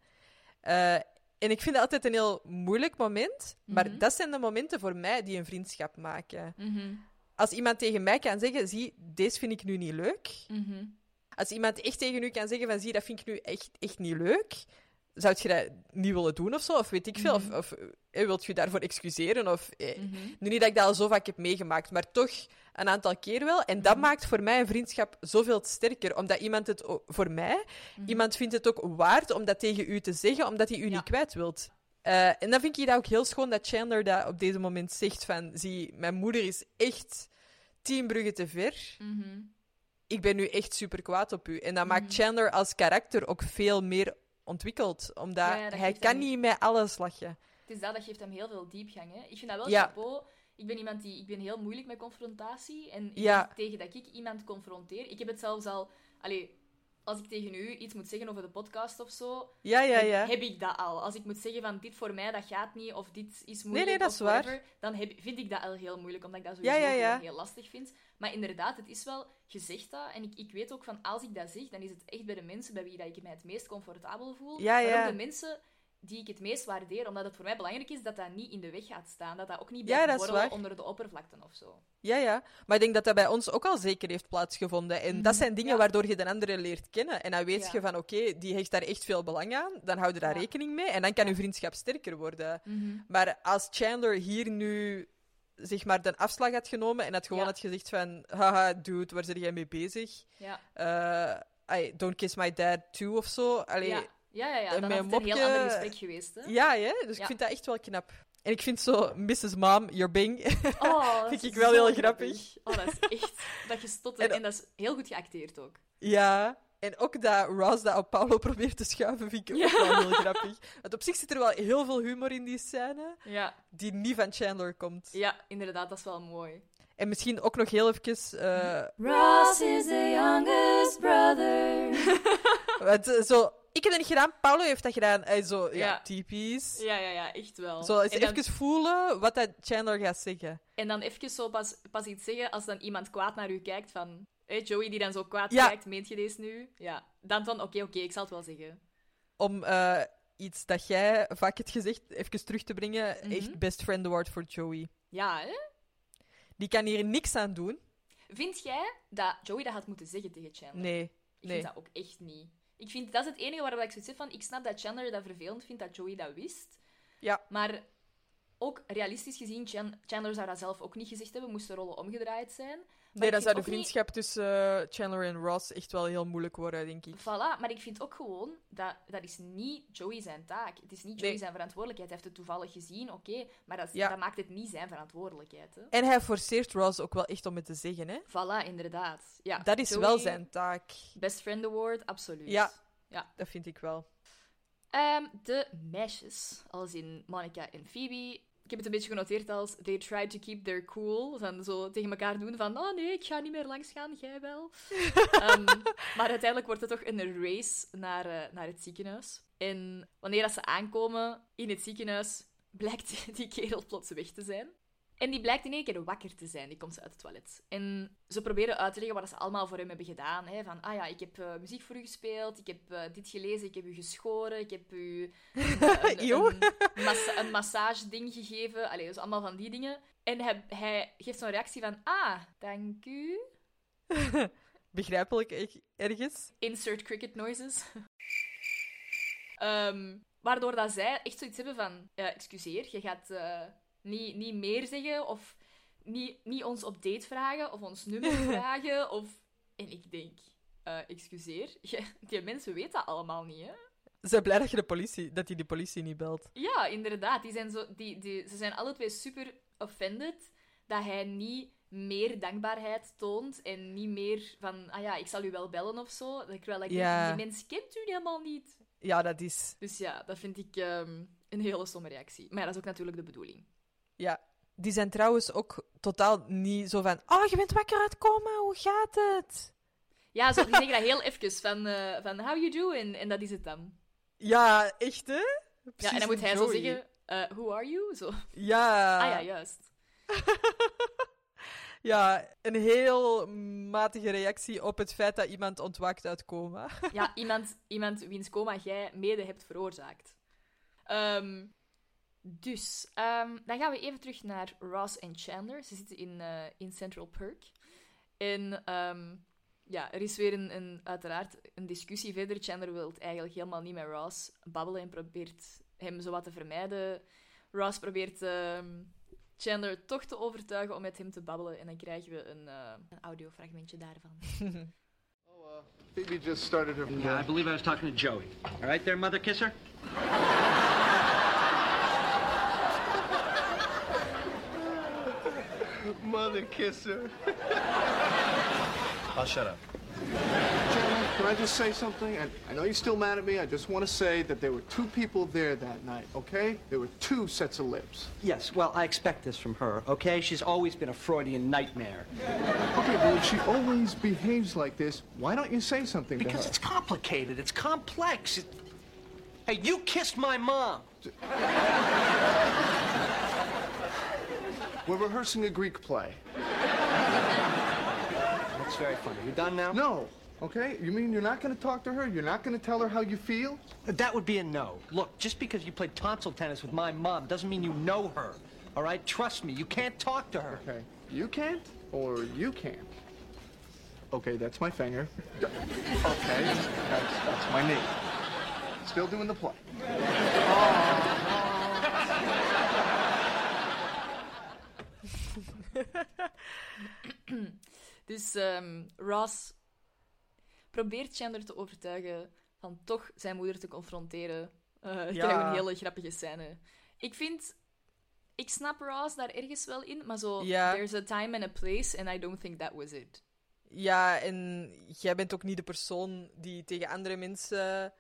Speaker 1: Eh, en ik vind dat altijd een heel moeilijk moment. Maar dat zijn de momenten voor mij die een vriendschap maken. Als iemand tegen mij kan zeggen, zie, deze vind ik nu niet leuk. Als iemand echt tegen u kan zeggen van zie, dat vind ik nu echt, echt niet leuk, zou je dat niet willen doen of zo? Of weet ik veel? Of, of eh, wilt je daarvoor excuseren? Of, eh,
Speaker 2: Mhm.
Speaker 1: Nu niet dat ik dat al zo vaak heb meegemaakt, maar toch een aantal keer wel. En
Speaker 2: Mhm.
Speaker 1: dat maakt voor mij een vriendschap zoveel sterker, omdat iemand het o- voor mij,
Speaker 2: Mhm.
Speaker 1: iemand vindt het ook waard om dat tegen u te zeggen, omdat hij u niet kwijt wilt. Eh, en dan vind ik dat ook heel schoon dat Chandler dat op deze moment zegt van, zie, mijn moeder is echt tien bruggen te ver
Speaker 2: Mhm.
Speaker 1: ik ben nu echt super kwaad op u. En dat maakt Chandler als karakter ook veel meer ontwikkeld. Omdat
Speaker 2: Ja, ja, dat
Speaker 1: hij
Speaker 2: geeft hem
Speaker 1: kan
Speaker 2: niet-
Speaker 1: niet met alles lachen.
Speaker 2: Het is dat, dat geeft hem heel veel diepgang. Hè? Ik vind dat wel
Speaker 1: Ja.
Speaker 2: chapeau. Ik ben iemand die... Ik ben heel moeilijk met confrontatie. En ik-
Speaker 1: Ja.
Speaker 2: tegen dat ik iemand confronteer... Ik heb het zelfs al... Allee, als ik tegen u iets moet zeggen over de podcast of zo...
Speaker 1: Ja, ja, ja.
Speaker 2: Heb ik dat al. Als ik moet zeggen van dit voor mij, dat gaat niet, of dit is moeilijk,
Speaker 1: nee, dat
Speaker 2: of
Speaker 1: is waar.
Speaker 2: whatever, dan heb, vind ik dat al heel moeilijk, omdat ik dat
Speaker 1: Ja,
Speaker 2: sowieso
Speaker 1: ja, ja.
Speaker 2: gewoon heel lastig vind. Maar inderdaad, het is wel, je zegt dat, en ik, ik weet ook van, als ik dat zeg, dan is het echt bij de mensen bij wie dat ik mij het meest comfortabel voel.
Speaker 1: Ja, ja.
Speaker 2: Maar ook de mensen die ik het meest waardeer, omdat het voor mij belangrijk is dat dat niet in de weg gaat staan, dat dat ook niet
Speaker 1: Ja,
Speaker 2: blijft
Speaker 1: dat is
Speaker 2: borrelen
Speaker 1: waar.
Speaker 2: onder de oppervlakten of zo.
Speaker 1: Ja, ja. Maar ik denk dat dat bij ons ook al zeker heeft plaatsgevonden. En dat zijn dingen
Speaker 2: Mm, ja.
Speaker 1: waardoor je de andere leert kennen. En dan weet
Speaker 2: Ja.
Speaker 1: je van, oké, die hecht daar echt veel belang aan. Dan hou je daar
Speaker 2: Ja. Mhm.
Speaker 1: rekening mee. En dan kan je vriendschap sterker worden. Maar als Chandler hier nu, zeg maar, de afslag had genomen en had gewoon
Speaker 2: Ja.
Speaker 1: had gezegd van, haha, dude, waar zit jij mee bezig?
Speaker 2: Ja,
Speaker 1: Eh, I don't kiss my dad too of zo. Allee,
Speaker 2: ja. ja, ja, ja.
Speaker 1: en
Speaker 2: dan
Speaker 1: mijn
Speaker 2: had het een heel
Speaker 1: mopje-
Speaker 2: ander gesprek geweest, hè?
Speaker 1: Ja, hè? dus ik
Speaker 2: Ja.
Speaker 1: vind dat echt wel knap. En ik vind zo Mrs. Mom, your bing.
Speaker 2: Oh, dat
Speaker 1: Vind
Speaker 2: is
Speaker 1: ik wel
Speaker 2: zo
Speaker 1: heel grappig.
Speaker 2: Oh, dat is echt... Dat gestotterd.
Speaker 1: En-
Speaker 2: En, dat is heel goed geacteerd ook.
Speaker 1: ja. En ook dat Ross dat op Paolo probeert te schuiven, vind ik ook wel heel grappig. Want op zich zit er wel heel veel humor in die scène,
Speaker 2: Ja.
Speaker 1: die niet van Chandler komt.
Speaker 2: Ja, inderdaad. Dat is wel mooi.
Speaker 1: En misschien ook nog heel even... eh,
Speaker 11: Ross is the youngest brother.
Speaker 1: want, eh, zo, ik heb dat niet gedaan, Paolo heeft dat gedaan. Eh, zo, ja,
Speaker 2: Ja.
Speaker 1: typisch.
Speaker 2: Ja, ja, ja. Echt wel.
Speaker 1: Zo, eens
Speaker 2: en, dan,
Speaker 1: even voelen wat dat Chandler gaat zeggen.
Speaker 2: en dan even zo pas, pas iets zeggen als dan iemand kwaad naar u kijkt van... Hé, Joey die dan zo kwaad
Speaker 1: Ja.
Speaker 2: kijkt, meent je deze nu? Ja. Dan van, oké, oké, ik zal het wel zeggen.
Speaker 1: Om eh, iets dat jij vaak hebt gezegd, even terug te brengen.
Speaker 2: Mhm.
Speaker 1: Echt best friend award voor Joey.
Speaker 2: Ja, hè?
Speaker 1: Die kan hier niks aan doen.
Speaker 2: Vind jij dat Joey dat had moeten zeggen tegen Chandler?
Speaker 1: Nee.
Speaker 2: Ik
Speaker 1: nee.
Speaker 2: vind dat ook echt niet. Ik vind, dat is het enige waar ik zoiets heb van... Ik snap dat Chandler dat vervelend vindt, dat Joey dat wist.
Speaker 1: Ja.
Speaker 2: Maar ook realistisch gezien, Chan- Chandler zou dat zelf ook niet gezegd hebben. Moesten rollen omgedraaid zijn. Maar
Speaker 1: Nee, dan
Speaker 2: ik vind
Speaker 1: zou de
Speaker 2: ook niet-
Speaker 1: vriendschap tussen eh, Chandler en Ross echt wel heel moeilijk worden, denk ik.
Speaker 2: Voilà, maar ik vind ook gewoon dat dat is niet Joey zijn taak. Het is niet Joey
Speaker 1: Nee.
Speaker 2: zijn verantwoordelijkheid. Hij heeft het toevallig gezien, oké. maar dat,
Speaker 1: Ja.
Speaker 2: dat maakt het niet zijn verantwoordelijkheid. Hè.
Speaker 1: En hij forceert Ross ook wel echt om het te zeggen, hè?
Speaker 2: Voilà, inderdaad. Ja,
Speaker 1: Dat is
Speaker 2: Joey,
Speaker 1: wel zijn taak.
Speaker 2: Best Friend Award, absoluut.
Speaker 1: Ja.
Speaker 2: Ja.
Speaker 1: Dat vind ik wel.
Speaker 2: Ehm, de meisjes, als in Monica en Phoebe. Ik heb het een beetje genoteerd als they try to keep their cool. Van zo tegen elkaar doen van, oh nee, ik ga niet meer langs gaan, jij wel. Ehm, maar uiteindelijk wordt het toch een race naar, eh, naar het ziekenhuis. En wanneer dat ze aankomen in het ziekenhuis, blijkt die kerel plots weg te zijn. En die blijkt in één keer wakker te zijn. Die komt ze uit het toilet. En ze proberen uit te leggen wat ze allemaal voor hem hebben gedaan. Hè? Van, ah ja, ik heb eh, muziek voor u gespeeld. Ik heb eh, dit gelezen. Ik heb u geschoren. Ik heb u een, eh, een,
Speaker 1: Eeuw.
Speaker 2: een massa- een massageding gegeven. Allee, dus allemaal van die dingen. En hij, hij geeft zo'n reactie van, ah, dank u.
Speaker 1: Begrijpelijk er- ergens.
Speaker 2: Insert cricket noises. Ehm, waardoor dat zij echt zoiets hebben van... eh, excuseer, je gaat eh, niet, niet meer zeggen of niet, niet ons op date vragen of ons nummer vragen. Of... En ik denk... eh, excuseer, je- die mensen weten dat allemaal niet, hè?
Speaker 1: Ze zijn blij dat je de politie, dat hij de politie niet belt.
Speaker 2: Ja, inderdaad. Die zijn zo, die, die, ze zijn alle twee super offended dat hij niet meer dankbaarheid toont en niet meer van, ah ja, ik zal u wel bellen of zo. Terwijl ik
Speaker 1: Ja.
Speaker 2: denk, die mens kent u helemaal niet.
Speaker 1: Ja, dat is.
Speaker 2: Dus ja, dat vind ik ehm, een hele stomme reactie. Maar ja, dat is ook natuurlijk de bedoeling.
Speaker 1: Ja. Die zijn trouwens ook totaal niet zo van. Oh, je bent wakker uit coma, hoe gaat het?
Speaker 2: Ja, zo, die zeggen dat heel even, van, eh, van how you doing? En dat is het dan.
Speaker 1: Ja, echt hè?
Speaker 2: ja, en dan
Speaker 1: Precies
Speaker 2: moet hij zo
Speaker 1: Joey.
Speaker 2: zeggen, eh, who are you? Zo.
Speaker 1: Ja.
Speaker 2: Ah ja, juist.
Speaker 1: Ja, een heel matige reactie op het feit dat iemand ontwaakt uit coma.
Speaker 2: Ja, iemand, iemand wiens coma jij mede hebt veroorzaakt. Ehm, dus, ehm, dan gaan we even terug naar Ross en Chandler. Ze zitten in, eh, in Central Perk. En ehm, ja, er is weer een, een, uiteraard een discussie verder. Chandler wil eigenlijk helemaal niet met Ross babbelen en probeert hem zowat te vermijden. Ross probeert ehm, Chandler toch te overtuigen om met hem te babbelen. En dan krijgen we een, eh, een audiofragmentje daarvan.
Speaker 8: Phoebe just started her.
Speaker 7: Yeah, I believe I was talking to Joey. All right, there, mother kisser.
Speaker 8: Mother kisser.
Speaker 7: I'll shut up.
Speaker 8: Gentlemen, can I just say something? I, I know you're still mad at me. I just want to say that there were two people there that night, okay? There were two sets of lips.
Speaker 12: Yes, well, I expect this from her, okay? She's always been a Freudian nightmare.
Speaker 8: Okay, well, if she always behaves like this, why don't you say something
Speaker 12: Because
Speaker 8: to
Speaker 12: it's complicated, it's complex. It... Hey, you kissed my mom!
Speaker 8: her? We're rehearsing a Greek play.
Speaker 12: That's very funny. You done now?
Speaker 8: No, okay? You mean you're not going to talk to her? You're not going to tell her how you feel?
Speaker 12: That would be a no. Look, just because you played tonsil tennis with my mom doesn't mean you know her, all right? Trust me, you can't talk to her.
Speaker 8: Okay, you can't or you can't. Okay, that's my finger. Okay, that's, that's my knee. Still doing the play.
Speaker 2: Dus ehm, Ross probeert Chandler te overtuigen van toch zijn moeder te confronteren. Eh ja.
Speaker 1: Ja.
Speaker 2: Krijgen we een hele grappige scène. Ik vind... Ik snap Ross daar ergens wel in, maar zo...
Speaker 1: Ja.
Speaker 2: There's a time and a place and I don't think that was it.
Speaker 1: Ja, en jij bent ook niet de persoon die tegen andere mensen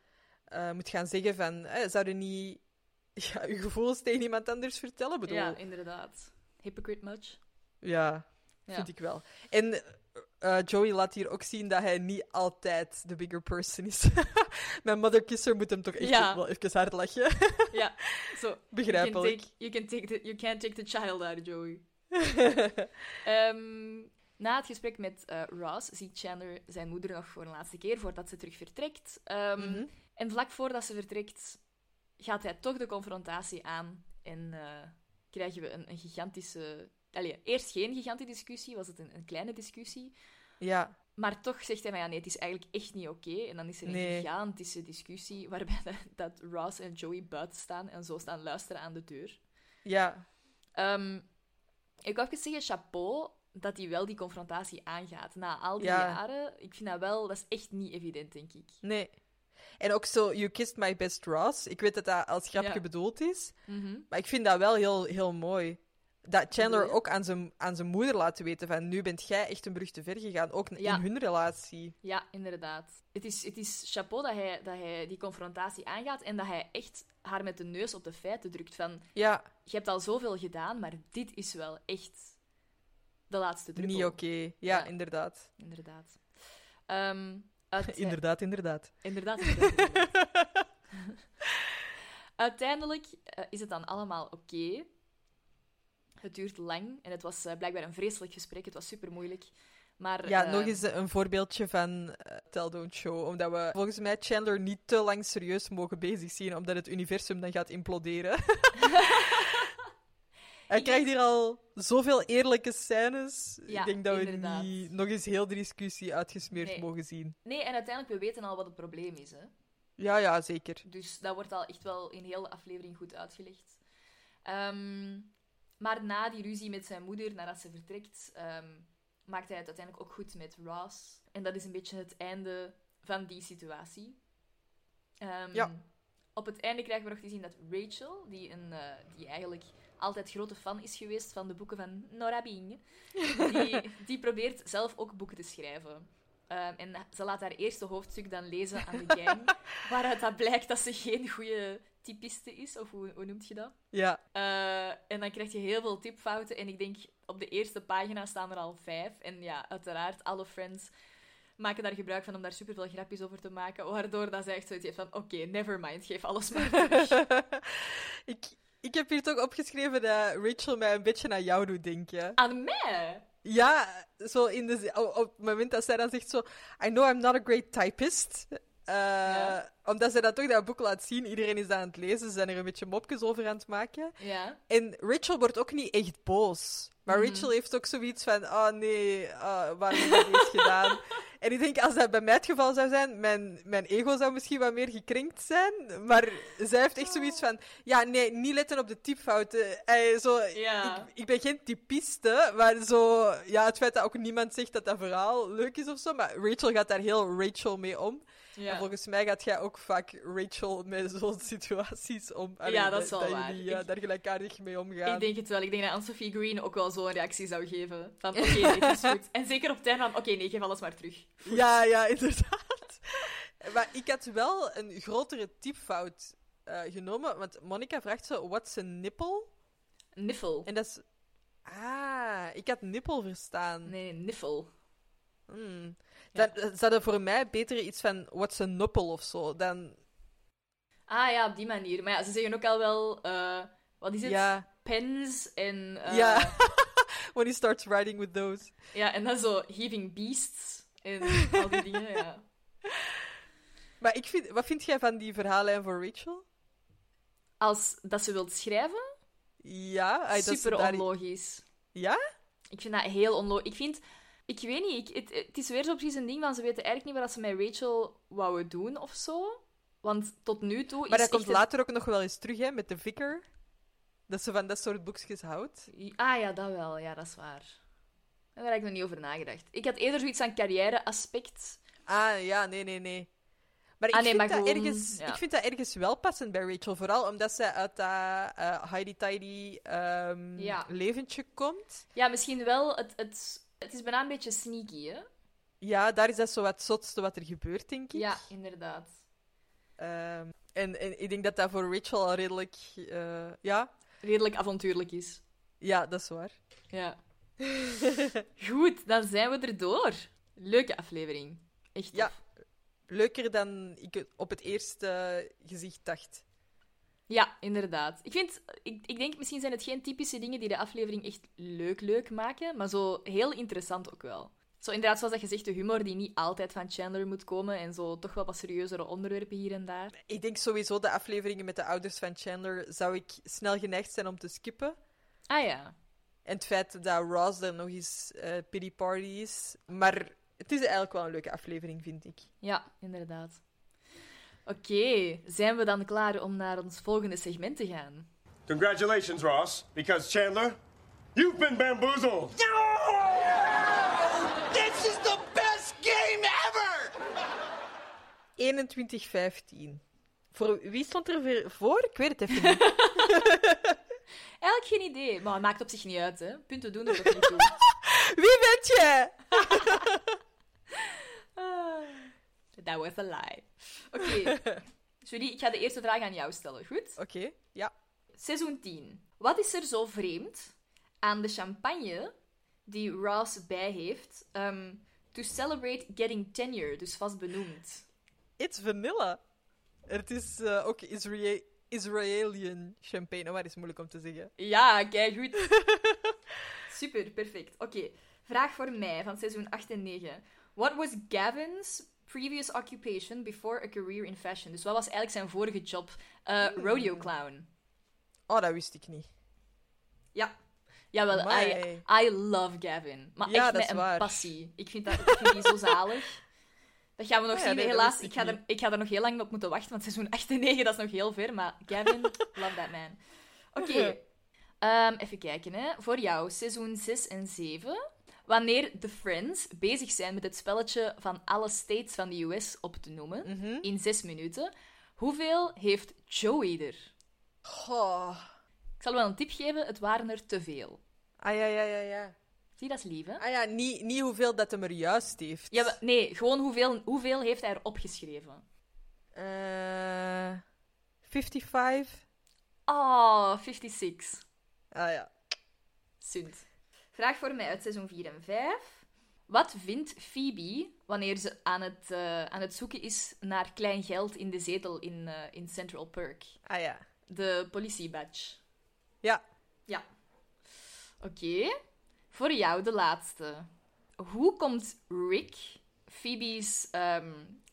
Speaker 1: eh, moet gaan zeggen van... eh, zou je niet ja, je gevoelens tegen iemand anders vertellen? Ik bedoel,
Speaker 2: Ja, inderdaad. Hypocrite much?
Speaker 1: ja,
Speaker 2: Ja.
Speaker 1: vind ik wel. En eh, Joey laat hier ook zien dat hij niet altijd de bigger person is. Mijn mother kisser moet hem toch echt
Speaker 2: Ja.
Speaker 1: wel even hard lachen.
Speaker 2: ja, zo...
Speaker 1: Begrijpelijk.
Speaker 2: You, can take, you, can take the, you can't take the child out, Joey. Ehm, na het gesprek met eh, Ross ziet Chandler zijn moeder nog voor een laatste keer voordat ze terug vertrekt. Ehm,
Speaker 1: Mhm.
Speaker 2: En vlak voordat ze vertrekt, gaat hij toch de confrontatie aan. En eh, krijgen we een, een gigantische. Allee, eerst geen gigantische discussie, was het een, een kleine discussie.
Speaker 1: Ja,
Speaker 2: Maar toch zegt hij: van, ja, nee, het is eigenlijk echt niet oké. En dan is er een
Speaker 1: Nee.
Speaker 2: gigantische discussie waarbij dat, dat Ross en Joey buiten staan en zo staan luisteren aan de deur.
Speaker 1: ja.
Speaker 2: Ehm, ik wou even zeggen, chapeau, dat hij wel die confrontatie aangaat. Na al die
Speaker 1: Ja.
Speaker 2: jaren, ik vind dat wel, dat is echt niet evident, denk ik.
Speaker 1: Nee. En ook zo, You Kissed My Best Ross. Ik weet dat dat als grapje
Speaker 2: Ja. Mhm.
Speaker 1: bedoeld is. Maar ik vind dat wel heel, heel mooi. Dat Chandler
Speaker 2: bedoel je?
Speaker 1: ook aan zijn, aan zijn moeder laat weten van... Nu bent jij echt een brug te ver gegaan. Ook
Speaker 2: Ja.
Speaker 1: in hun relatie.
Speaker 2: Ja, inderdaad. Het is, het is chapeau dat hij, dat hij die confrontatie aangaat en dat hij echt haar met de neus op de feiten drukt. Van,
Speaker 1: Ja,
Speaker 2: je hebt al zoveel gedaan, maar dit is wel echt de laatste druppel.
Speaker 1: niet oké. Ja,
Speaker 2: Ja.
Speaker 1: inderdaad.
Speaker 2: Inderdaad. Ehm, uit-
Speaker 1: Inderdaad, inderdaad.
Speaker 2: Inderdaad. inderdaad, inderdaad. Uiteindelijk eh, is het dan allemaal oké. Het duurt lang en het was eh, blijkbaar een vreselijk gesprek. Het was super moeilijk. Maar,
Speaker 1: Ja,
Speaker 2: eh,
Speaker 1: nog eens een voorbeeldje van eh, Tell Don't Show. Omdat we volgens mij Chandler niet te lang serieus mogen bezig zien. Omdat het universum dan gaat imploderen. Hij krijgt hier al zoveel eerlijke scènes.
Speaker 2: Ja,
Speaker 1: ik denk dat
Speaker 2: inderdaad.
Speaker 1: we niet nog eens heel de discussie uitgesmeerd
Speaker 2: Nee.
Speaker 1: mogen zien.
Speaker 2: Nee, en uiteindelijk, we weten al wat het probleem is. Hè?
Speaker 1: Ja, ja, zeker.
Speaker 2: Dus dat wordt al echt wel in heel de aflevering goed uitgelegd. Ehm, maar na die ruzie met zijn moeder, nadat ze vertrekt, ehm, maakt hij het uiteindelijk ook goed met Ross. En dat is een beetje het einde van die situatie. Ehm,
Speaker 1: Ja.
Speaker 2: Op het einde krijgen we nog te zien dat Rachel, die, een, eh, die eigenlijk altijd grote fan is geweest van de boeken van Nora Bing, die, die probeert zelf ook boeken te schrijven. Ehm, en ze laat haar eerste hoofdstuk dan lezen aan de gang, waaruit dat blijkt dat ze geen goede typiste is, of hoe, hoe noemt je dat?
Speaker 1: Ja.
Speaker 2: Eh, en dan krijg je heel veel tipfouten. En ik denk, op de eerste pagina staan er al vijf. En ja, uiteraard, alle friends maken daar gebruik van om daar superveel grapjes over te maken. Waardoor dat ze echt zoiets heeft van, oké, never mind, geef alles maar terug.
Speaker 1: ik, ik heb hier toch opgeschreven dat Rachel mij een beetje aan jou doet denken.
Speaker 2: Aan mij?
Speaker 1: Ja, zo in de, zi- op, op het moment dat zij dan zegt zo... I know I'm not a great typist. Eh, Omdat zij dat toch dat boek laat zien. Iedereen is dat aan het lezen. Ze zijn er een beetje mopjes over aan het maken.
Speaker 2: Ja.
Speaker 1: En Rachel wordt ook niet echt boos. Maar
Speaker 2: Mhm.
Speaker 1: Rachel heeft ook zoiets van... Oh nee, ah, waarom heb je dit gedaan? En ik denk, als dat bij mij het geval zou zijn... Mijn, mijn ego zou misschien wat meer gekrenkt zijn. Maar zij heeft echt zoiets van... Ja, nee, niet letten op de typfouten. Eh, zo,
Speaker 2: Ja.
Speaker 1: ik, ik ben geen typiste, maar zo... Ja, het feit dat ook niemand zegt dat dat verhaal leuk is of zo. Maar Rachel gaat daar heel Rachel mee om.
Speaker 2: Ja.
Speaker 1: En volgens mij gaat jij ook vaak Rachel met zo'n situaties om.
Speaker 2: Ja, dat is wel waar.
Speaker 1: jullie eh,
Speaker 2: Ik-
Speaker 1: daar gelijkaardig mee omgaan.
Speaker 2: Ik denk het wel. Ik denk dat Anne-Sophie Green ook wel zo'n reactie zou geven. Van, oké, dit is goed. En zeker op het einde van, oké, nee, geef alles maar terug.
Speaker 1: Ja, ja, inderdaad. maar ik had wel een grotere typfout eh, genomen, want Monica vraagt zo, what's a nipple?
Speaker 2: Niffel.
Speaker 1: En dat is... Ah, ik had nippel verstaan.
Speaker 2: Nee, niffel.
Speaker 1: Hmm. Dan, Ze hadden voor mij beter iets van, what's a nupple of zo, dan...
Speaker 2: Ah ja, op die manier. Maar ja, ze zeggen ook al wel, eh, wat is het?
Speaker 1: Ja.
Speaker 2: Pens en... eh,
Speaker 1: Ja. When he starts riding with those.
Speaker 2: Ja, en dan zo Heaving Beasts en al die dingen, ja.
Speaker 1: Maar ik vind, wat vind jij van die verhaallijn voor Rachel?
Speaker 2: Als dat ze wilt schrijven,
Speaker 1: Ja, ay, dat ze
Speaker 2: super
Speaker 1: daar-
Speaker 2: onlogisch.
Speaker 1: Ja?
Speaker 2: Ik vind dat heel onlogisch. Ik vind... Ik weet niet, ik, het, het is weer zo precies een ding van ze weten eigenlijk niet wat ze met Rachel wouden doen of zo. Want tot nu toe
Speaker 1: Maar
Speaker 2: is
Speaker 1: dat komt
Speaker 2: echt het-
Speaker 1: later ook nog wel eens terug, hè, met de vicar. Dat ze van dat soort boekjes houdt.
Speaker 2: Ah ja, dat wel. Ja, dat is waar. Daar heb ik nog niet over nagedacht. Ik had eerder zoiets aan carrière-aspect.
Speaker 1: Ah, ja, nee, nee, nee. Maar ik,
Speaker 2: Ah, nee,
Speaker 1: vind,
Speaker 2: maar
Speaker 1: dat
Speaker 2: gewoon,
Speaker 1: ergens,
Speaker 2: ja.
Speaker 1: ik vind dat ergens wel passend bij Rachel. Vooral omdat zij uit dat eh, Heidi Tidy ehm,
Speaker 2: Ja.
Speaker 1: leventje komt.
Speaker 2: Ja, misschien wel. Het, het, het is bijna een beetje sneaky, hè?
Speaker 1: Ja, daar is dat zo wat zotste wat er gebeurt, denk ik.
Speaker 2: Ja, inderdaad.
Speaker 1: Ehm, en, en ik denk dat dat voor Rachel al redelijk... eh, ja,
Speaker 2: Redelijk avontuurlijk is.
Speaker 1: ja, dat is waar.
Speaker 2: Ja. Goed, dan zijn we erdoor. Leuke aflevering. Echt
Speaker 1: Ja.
Speaker 2: tof.
Speaker 1: Leuker dan ik het op het eerste gezicht dacht.
Speaker 2: Ja, inderdaad. Ik, vind, ik, ik denk, misschien zijn het geen typische dingen die de aflevering echt leuk-leuk maken, maar zo heel interessant ook wel. Zo inderdaad, zoals dat gezegd, de humor die niet altijd van Chandler moet komen en zo toch wel wat serieuzere onderwerpen hier en daar.
Speaker 1: Ik denk sowieso de afleveringen met de ouders van Chandler zou ik snel geneigd zijn om te skippen.
Speaker 2: Ah ja.
Speaker 1: En het feit dat Ross er nog eens eh pity party is. Maar het is eigenlijk wel een leuke aflevering, vind ik.
Speaker 2: Ja, inderdaad. Oké, zijn we dan klaar om naar ons volgende segment te gaan?
Speaker 7: Congratulations, Ross, because Chandler, you've been bamboozled.
Speaker 13: This is the best game ever!
Speaker 1: 2115. Voor wie stond er weer voor? Ik weet het even niet.
Speaker 2: Eigenlijk geen idee, maar het maakt op zich niet uit, hè. Punten doen er ook niet toe.
Speaker 1: Wie bent je?
Speaker 2: Ah, That was a lie. Oké. Julie, ik ga de eerste vraag aan jou stellen, goed?
Speaker 1: Oké, ja.
Speaker 2: Seizoen 10. Wat is er zo vreemd aan de champagne die Ross bij heeft ehm, to celebrate getting tenure, dus vast benoemd?
Speaker 1: It's vanilla. Het is eh, ook Isra- Israëlian champagne. Oh, maar dat is moeilijk om te zeggen.
Speaker 2: Ja, kijk goed. Super, perfect. Oké, vraag voor mij van seizoen 8 en 9. What was Gavin's previous occupation before a career in fashion? Dus wat was eigenlijk zijn vorige job? Eh, rodeo clown.
Speaker 1: Oh, dat wist ik niet.
Speaker 2: Ja. Jawel, I,
Speaker 1: Amai.
Speaker 2: I love Gavin. Maar
Speaker 1: Ja,
Speaker 2: echt
Speaker 1: dat
Speaker 2: met
Speaker 1: is
Speaker 2: een
Speaker 1: waar.
Speaker 2: passie. Ik vind, dat, ik vind die zo zalig. Dat gaan we nog
Speaker 1: Ah ja,
Speaker 2: zien.
Speaker 1: nee, dat
Speaker 2: Helaas,
Speaker 1: wist
Speaker 2: ik
Speaker 1: ik
Speaker 2: ga,
Speaker 1: niet.
Speaker 2: er, ik ga er nog heel lang op moeten wachten, want seizoen 8 en 9 dat is nog heel ver. Maar Gavin, love that man. Oké. Ehm, even kijken, hè. Voor jou, seizoen 6 en 7. Wanneer de Friends bezig zijn met het spelletje van alle states van de US op te noemen,
Speaker 1: Mhm.
Speaker 2: in 6 minuten, hoeveel heeft Joey er?
Speaker 1: Goh.
Speaker 2: Ik zal wel een tip geven, het waren er te veel.
Speaker 1: Ah ja, ja, ja, ja.
Speaker 2: Zie, dat is lief, hè?
Speaker 1: Ah ja, niet, niet hoeveel dat hem er juist heeft.
Speaker 2: Ja, maar- nee, gewoon hoeveel, hoeveel heeft hij er opgeschreven?
Speaker 1: Eh, 55.
Speaker 2: Oh, 56.
Speaker 1: Ah ja.
Speaker 2: Sunt. Vraag voor mij uit seizoen 4 en 5. Wat vindt Phoebe wanneer ze aan het, eh, aan het zoeken is naar klein geld in de zetel in, eh, in Central Park?
Speaker 1: Ah ja.
Speaker 2: De politiebadge.
Speaker 1: Ja.
Speaker 2: Ja. Oké. Voor jou de laatste. Hoe komt Rick, Phoebe's ehm,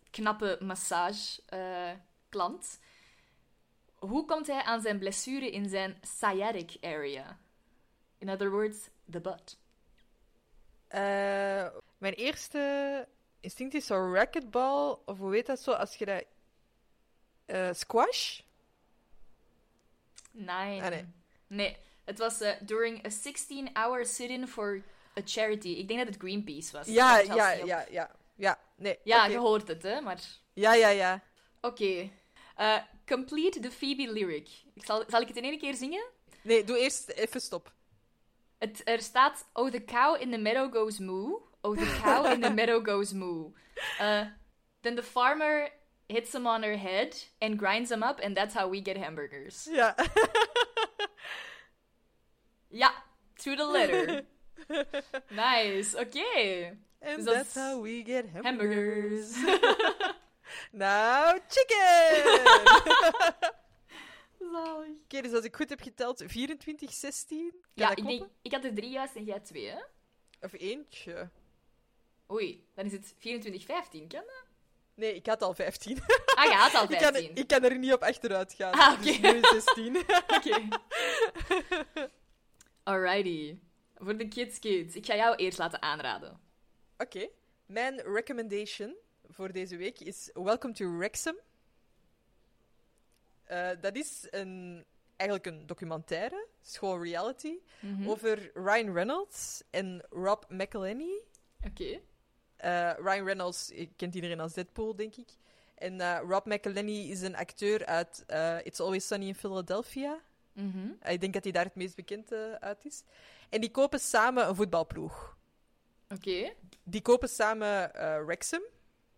Speaker 2: knappe massage-klant, hoe komt hij aan zijn blessure in zijn sciatic area? In other words, the butt.
Speaker 1: Eh, mijn eerste instinct is zo racquetball, of hoe heet dat zo, als je dat... eh, squash?
Speaker 2: Nee.
Speaker 1: Ah, nee.
Speaker 2: Nee, het was eh, during a 16-hour sit-in for a charity. Ik denk dat het Greenpeace was.
Speaker 1: Ja,
Speaker 2: Ik heb het
Speaker 1: ja,
Speaker 2: zelfs niet op-
Speaker 1: ja, ja. Ja, nee.
Speaker 2: Ja,
Speaker 1: oké.
Speaker 2: je hoort het, hè, maar...
Speaker 1: Ja, ja, ja.
Speaker 2: Oké. Eh, complete the Phoebe lyric. Ik zal, zal ik het in één keer zingen?
Speaker 1: Nee, doe eerst even stop.
Speaker 2: Het, er staat... Oh, the cow in the meadow goes moo. Oh, the cow in the meadow goes moo. Eh, then the farmer hits him on her head and grinds him up. And that's how we get hamburgers.
Speaker 1: Ja.
Speaker 2: Ja, to the letter. nice, oké.
Speaker 1: And
Speaker 2: Dus dat
Speaker 1: that's
Speaker 2: is
Speaker 1: how we get hamburgers.
Speaker 2: hamburgers.
Speaker 1: Nou, chicken!
Speaker 2: Zalig.
Speaker 1: Oké, dus als ik goed heb geteld, 24, 16. Kan
Speaker 2: Ja,
Speaker 1: dat
Speaker 2: ik, denk,
Speaker 1: kloppen?
Speaker 2: ik had er drie juist en jij twee, hè?
Speaker 1: Of eentje.
Speaker 2: Oei, dan is het 24-15, kan dat?
Speaker 1: Nee, ik had al 15.
Speaker 2: Ah, je had al
Speaker 1: Ik kan,
Speaker 2: 15.
Speaker 1: ik kan er niet op achteruit gaan.
Speaker 2: Ah, oké.
Speaker 1: Dus nu is 16.
Speaker 2: Oké. Alrighty. Voor de kids, kids. Ik ga jou eerst laten aanraden.
Speaker 1: Oké. Mijn recommendation voor deze week is Welcome to Wrexham. Eh, dat is een, eigenlijk een documentaire, school reality,
Speaker 2: Mhm.
Speaker 1: over Ryan Reynolds en Rob McElhenney.
Speaker 2: Oké.
Speaker 1: Eh, Ryan Reynolds eh, kent iedereen als Deadpool, denk ik. En eh, Rob McElhenney is een acteur uit eh, It's Always Sunny in Philadelphia.
Speaker 2: Mhm.
Speaker 1: Eh, Ik denk dat hij daar het meest bekend eh, uit is. En die kopen samen een voetbalploeg.
Speaker 2: Oké.
Speaker 1: Die kopen samen eh Wrexham.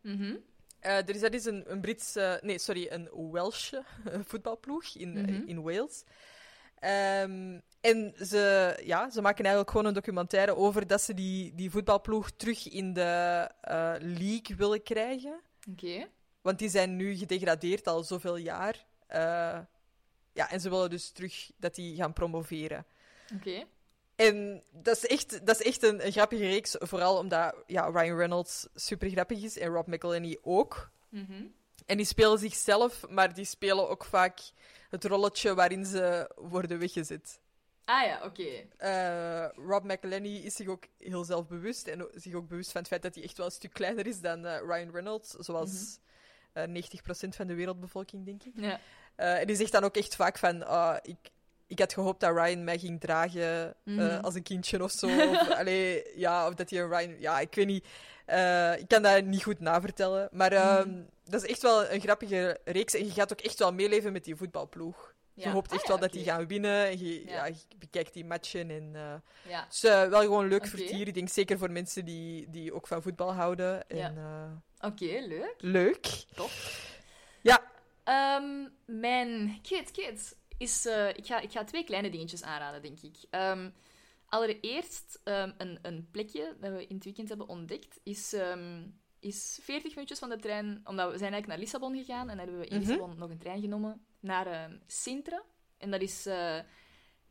Speaker 2: Mhm.
Speaker 1: Eh, er is, dat is een, een Britse, nee, sorry, een Welsh voetbalploeg in, eh,
Speaker 2: Mhm.
Speaker 1: in Wales. Ehm, en ze, ja, ze maken eigenlijk gewoon een documentaire over dat ze die, die voetbalploeg terug in de eh, league willen krijgen.
Speaker 2: Oké.
Speaker 1: Want die zijn nu gedegradeerd al zoveel jaar. Eh, ja, en ze willen dus terug dat die gaan promoveren.
Speaker 2: Oké.
Speaker 1: En dat is echt, dat is echt een, een grappige reeks. Vooral omdat ja, Ryan Reynolds super grappig is en Rob McElhenney ook.
Speaker 2: Mhm.
Speaker 1: En die spelen zichzelf, maar die spelen ook vaak het rolletje waarin ze worden weggezet.
Speaker 2: Ah ja, oké.
Speaker 1: Eh, Rob McElhenney is zich ook heel zelfbewust en o- zich ook bewust van het feit dat hij echt wel een stuk kleiner is dan eh, Ryan Reynolds, zoals eh 90% van de wereldbevolking, denk ik.
Speaker 2: Ja.
Speaker 1: Eh, en die zegt dan ook echt vaak van, ah, ik, ik had gehoopt dat Ryan mij ging dragen eh,
Speaker 2: Mhm.
Speaker 1: als een kindje of zo. Of, allee, ja, of dat hij een Ryan... Ja, ik weet niet. Eh, ik kan dat niet goed navertellen. Maar
Speaker 2: Mhm.
Speaker 1: ehm, dat is echt wel een grappige reeks. En je gaat ook echt wel meeleven met die voetbalploeg.
Speaker 2: Ja.
Speaker 1: Je hoopt
Speaker 2: Ah
Speaker 1: echt
Speaker 2: ja,
Speaker 1: wel dat
Speaker 2: oké.
Speaker 1: die gaan winnen. En je,
Speaker 2: Ja.
Speaker 1: ja. je bekijkt die matchen. En, eh,
Speaker 2: Ja.
Speaker 1: het is eh, wel gewoon leuk
Speaker 2: Oké.
Speaker 1: vertier. Ik denk zeker voor mensen die, die ook van voetbal houden. En,
Speaker 2: Ja.
Speaker 1: eh,
Speaker 2: Oké, leuk.
Speaker 1: leuk.
Speaker 2: Tof.
Speaker 1: Ja.
Speaker 2: Ehm, mijn kids, kids. Is, eh, ik, ga, ik ga twee kleine dingetjes aanraden, denk ik. Ehm, allereerst ehm, een, een plekje dat we in het weekend hebben ontdekt. Is, ehm, is 40 minuutjes van de trein. Omdat we zijn eigenlijk naar Lissabon gegaan. En dan hebben we in
Speaker 1: Mhm.
Speaker 2: Lissabon nog een trein genomen naar ehm, Sintra. En dat is, eh,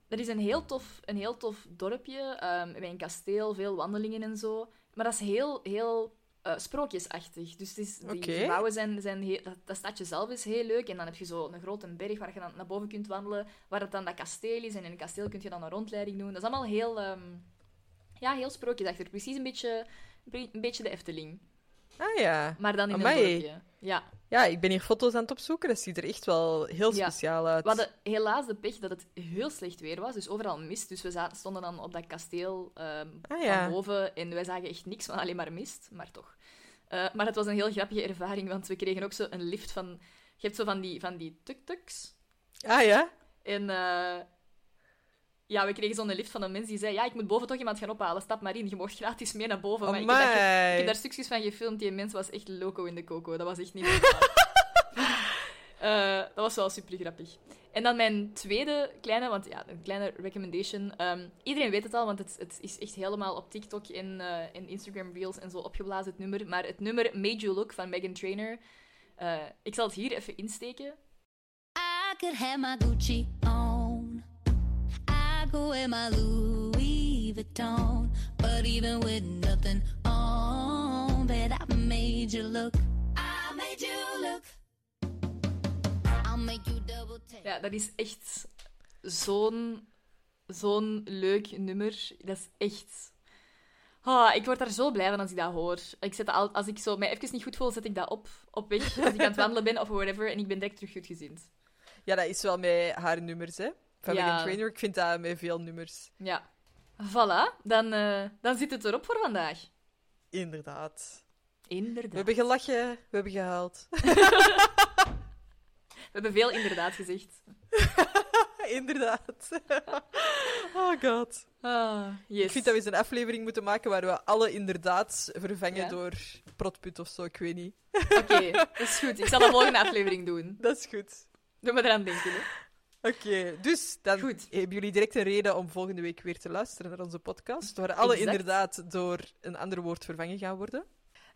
Speaker 2: dat is een, heel tof, een heel tof dorpje. ehm, met een kasteel, veel wandelingen en zo. Maar dat is heel, heel eh, eh, sprookjesachtig. Dus het is, die
Speaker 1: Oké.
Speaker 2: gebouwen zijn... zijn heel- dat, dat stadje zelf is heel leuk. En dan heb je zo een grote berg waar je dan naar boven kunt wandelen. Waar het dan dat kasteel is. En in het kasteel kun je dan een rondleiding doen. Dat is allemaal heel... ehm, ja, heel sprookjesachtig. Precies een beetje, een beetje de Efteling.
Speaker 1: Ah ja.
Speaker 2: Maar dan in
Speaker 1: Amai.
Speaker 2: een dorpje. Ja.
Speaker 1: Ja, ik ben hier foto's aan het opzoeken. Dat ziet er echt wel heel
Speaker 2: Ja.
Speaker 1: speciaal uit.
Speaker 2: We hadden helaas de pech dat het heel slecht weer was, dus overal mist. Dus we za- stonden dan op dat kasteel ehm
Speaker 1: Ah, ja.
Speaker 2: van boven en wij zagen echt niks, van alleen maar mist, maar toch. Eh, maar het was een heel grappige ervaring, want we kregen ook zo een lift van... Je hebt zo van die, van die tuk-tuks.
Speaker 1: Ah ja?
Speaker 2: En eh, ja, we kregen zo'n lift van een mens die zei... Ja, ik moet boven toch iemand gaan ophalen, stap maar in. Je mocht gratis mee naar boven. Maar ik heb, daar ge-
Speaker 1: Amai.
Speaker 2: ik heb daar stukjes van gefilmd. Die mens was echt loco in de coco. Dat was echt niet normaal. Eh, dat was wel super grappig. En dan mijn tweede kleine, want ja, een kleine recommendation. Ehm, iedereen weet het al, want het, het is echt helemaal op TikTok en, eh, en Instagram Reels en zo opgeblazen, het nummer. Maar het nummer Made You Look van Megan Trainor. eh, ik zal het hier even insteken.
Speaker 4: I could have my Gucci on. I go in my Louis Vuitton. But even with nothing on, bet I made you look. I made you look. I'll make you double take.
Speaker 2: Ja, dat is echt zo'n zo'n leuk nummer. Dat is echt. Ah, ik word daar zo blij van als ik dat hoor. Ik zet dat al, als ik zo mij even niet goed voel, zet ik dat op, op weg. Als ik aan het wandelen ben of whatever. En ik ben direct terug goed gezind.
Speaker 1: Ja, dat is wel met haar nummers, hè? Van
Speaker 2: Ja.
Speaker 1: Megan Trainor. Ik vind dat met veel nummers.
Speaker 2: Ja. Voilà, dan, eh, dan zit het erop voor vandaag.
Speaker 1: Inderdaad.
Speaker 2: Inderdaad.
Speaker 1: We hebben gelachen, we hebben gehaald.
Speaker 2: We hebben veel inderdaad gezegd.
Speaker 1: Inderdaad. oh god.
Speaker 2: Ah, yes.
Speaker 1: Ik vind dat we eens een aflevering moeten maken waar we alle inderdaad vervangen
Speaker 2: Ja.
Speaker 1: door protput of zo, ik weet niet.
Speaker 2: Oké, dat is goed. Ik zal de volgende aflevering doen.
Speaker 1: Dat is goed.
Speaker 2: Doe me eraan denken. Hè.
Speaker 1: Oké, dus dan hebben jullie direct een reden om volgende week weer te luisteren naar onze podcast, waar alle
Speaker 2: Exact.
Speaker 1: inderdaad door een ander woord vervangen gaan worden.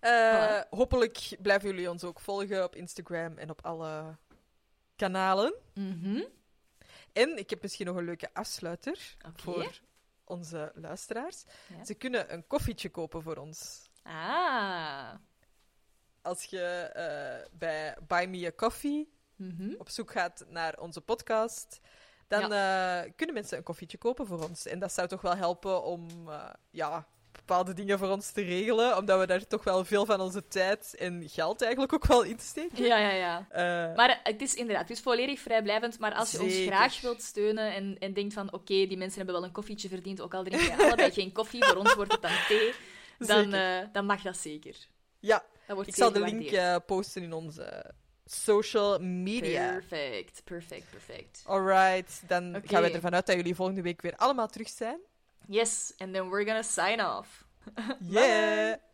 Speaker 1: Eh, Hopelijk blijven jullie ons ook volgen op Instagram en op alle kanalen.
Speaker 2: Mhm.
Speaker 1: En ik heb misschien nog een leuke afsluiter voor onze luisteraars.
Speaker 2: Ja.
Speaker 1: Ze kunnen een koffietje kopen voor ons.
Speaker 2: Ah.
Speaker 1: Als je eh, bij Buy Me a Coffee
Speaker 2: Mhm.
Speaker 1: op zoek gaat naar onze podcast, dan eh, kunnen mensen een koffietje kopen voor ons. En dat zou toch wel helpen om eh, ja, bepaalde dingen voor ons te regelen, omdat we daar toch wel veel van onze tijd en geld eigenlijk ook wel in steken.
Speaker 2: Ja, ja, ja.
Speaker 1: Eh,
Speaker 2: Maar het is inderdaad, het is volledig vrijblijvend. Maar als je ons
Speaker 1: Zeker.
Speaker 2: graag wilt steunen en, en denkt van oké, die mensen hebben wel een koffietje verdiend, ook al drinken wij allebei geen koffie, voor ons wordt het dan thee, dan,
Speaker 1: Zeker.
Speaker 2: eh, dan mag dat zeker.
Speaker 1: ja,
Speaker 2: Dat wordt
Speaker 1: ik
Speaker 2: zeer
Speaker 1: zal de link
Speaker 2: gewaardeerd.
Speaker 1: eh, posten in onze social media.
Speaker 2: Perfect, perfect, perfect.
Speaker 1: Alright, dan
Speaker 2: Oké.
Speaker 1: gaan we ervan uit dat jullie volgende week weer allemaal terug zijn.
Speaker 2: Yes, and then we're gonna sign off.
Speaker 1: Yeah!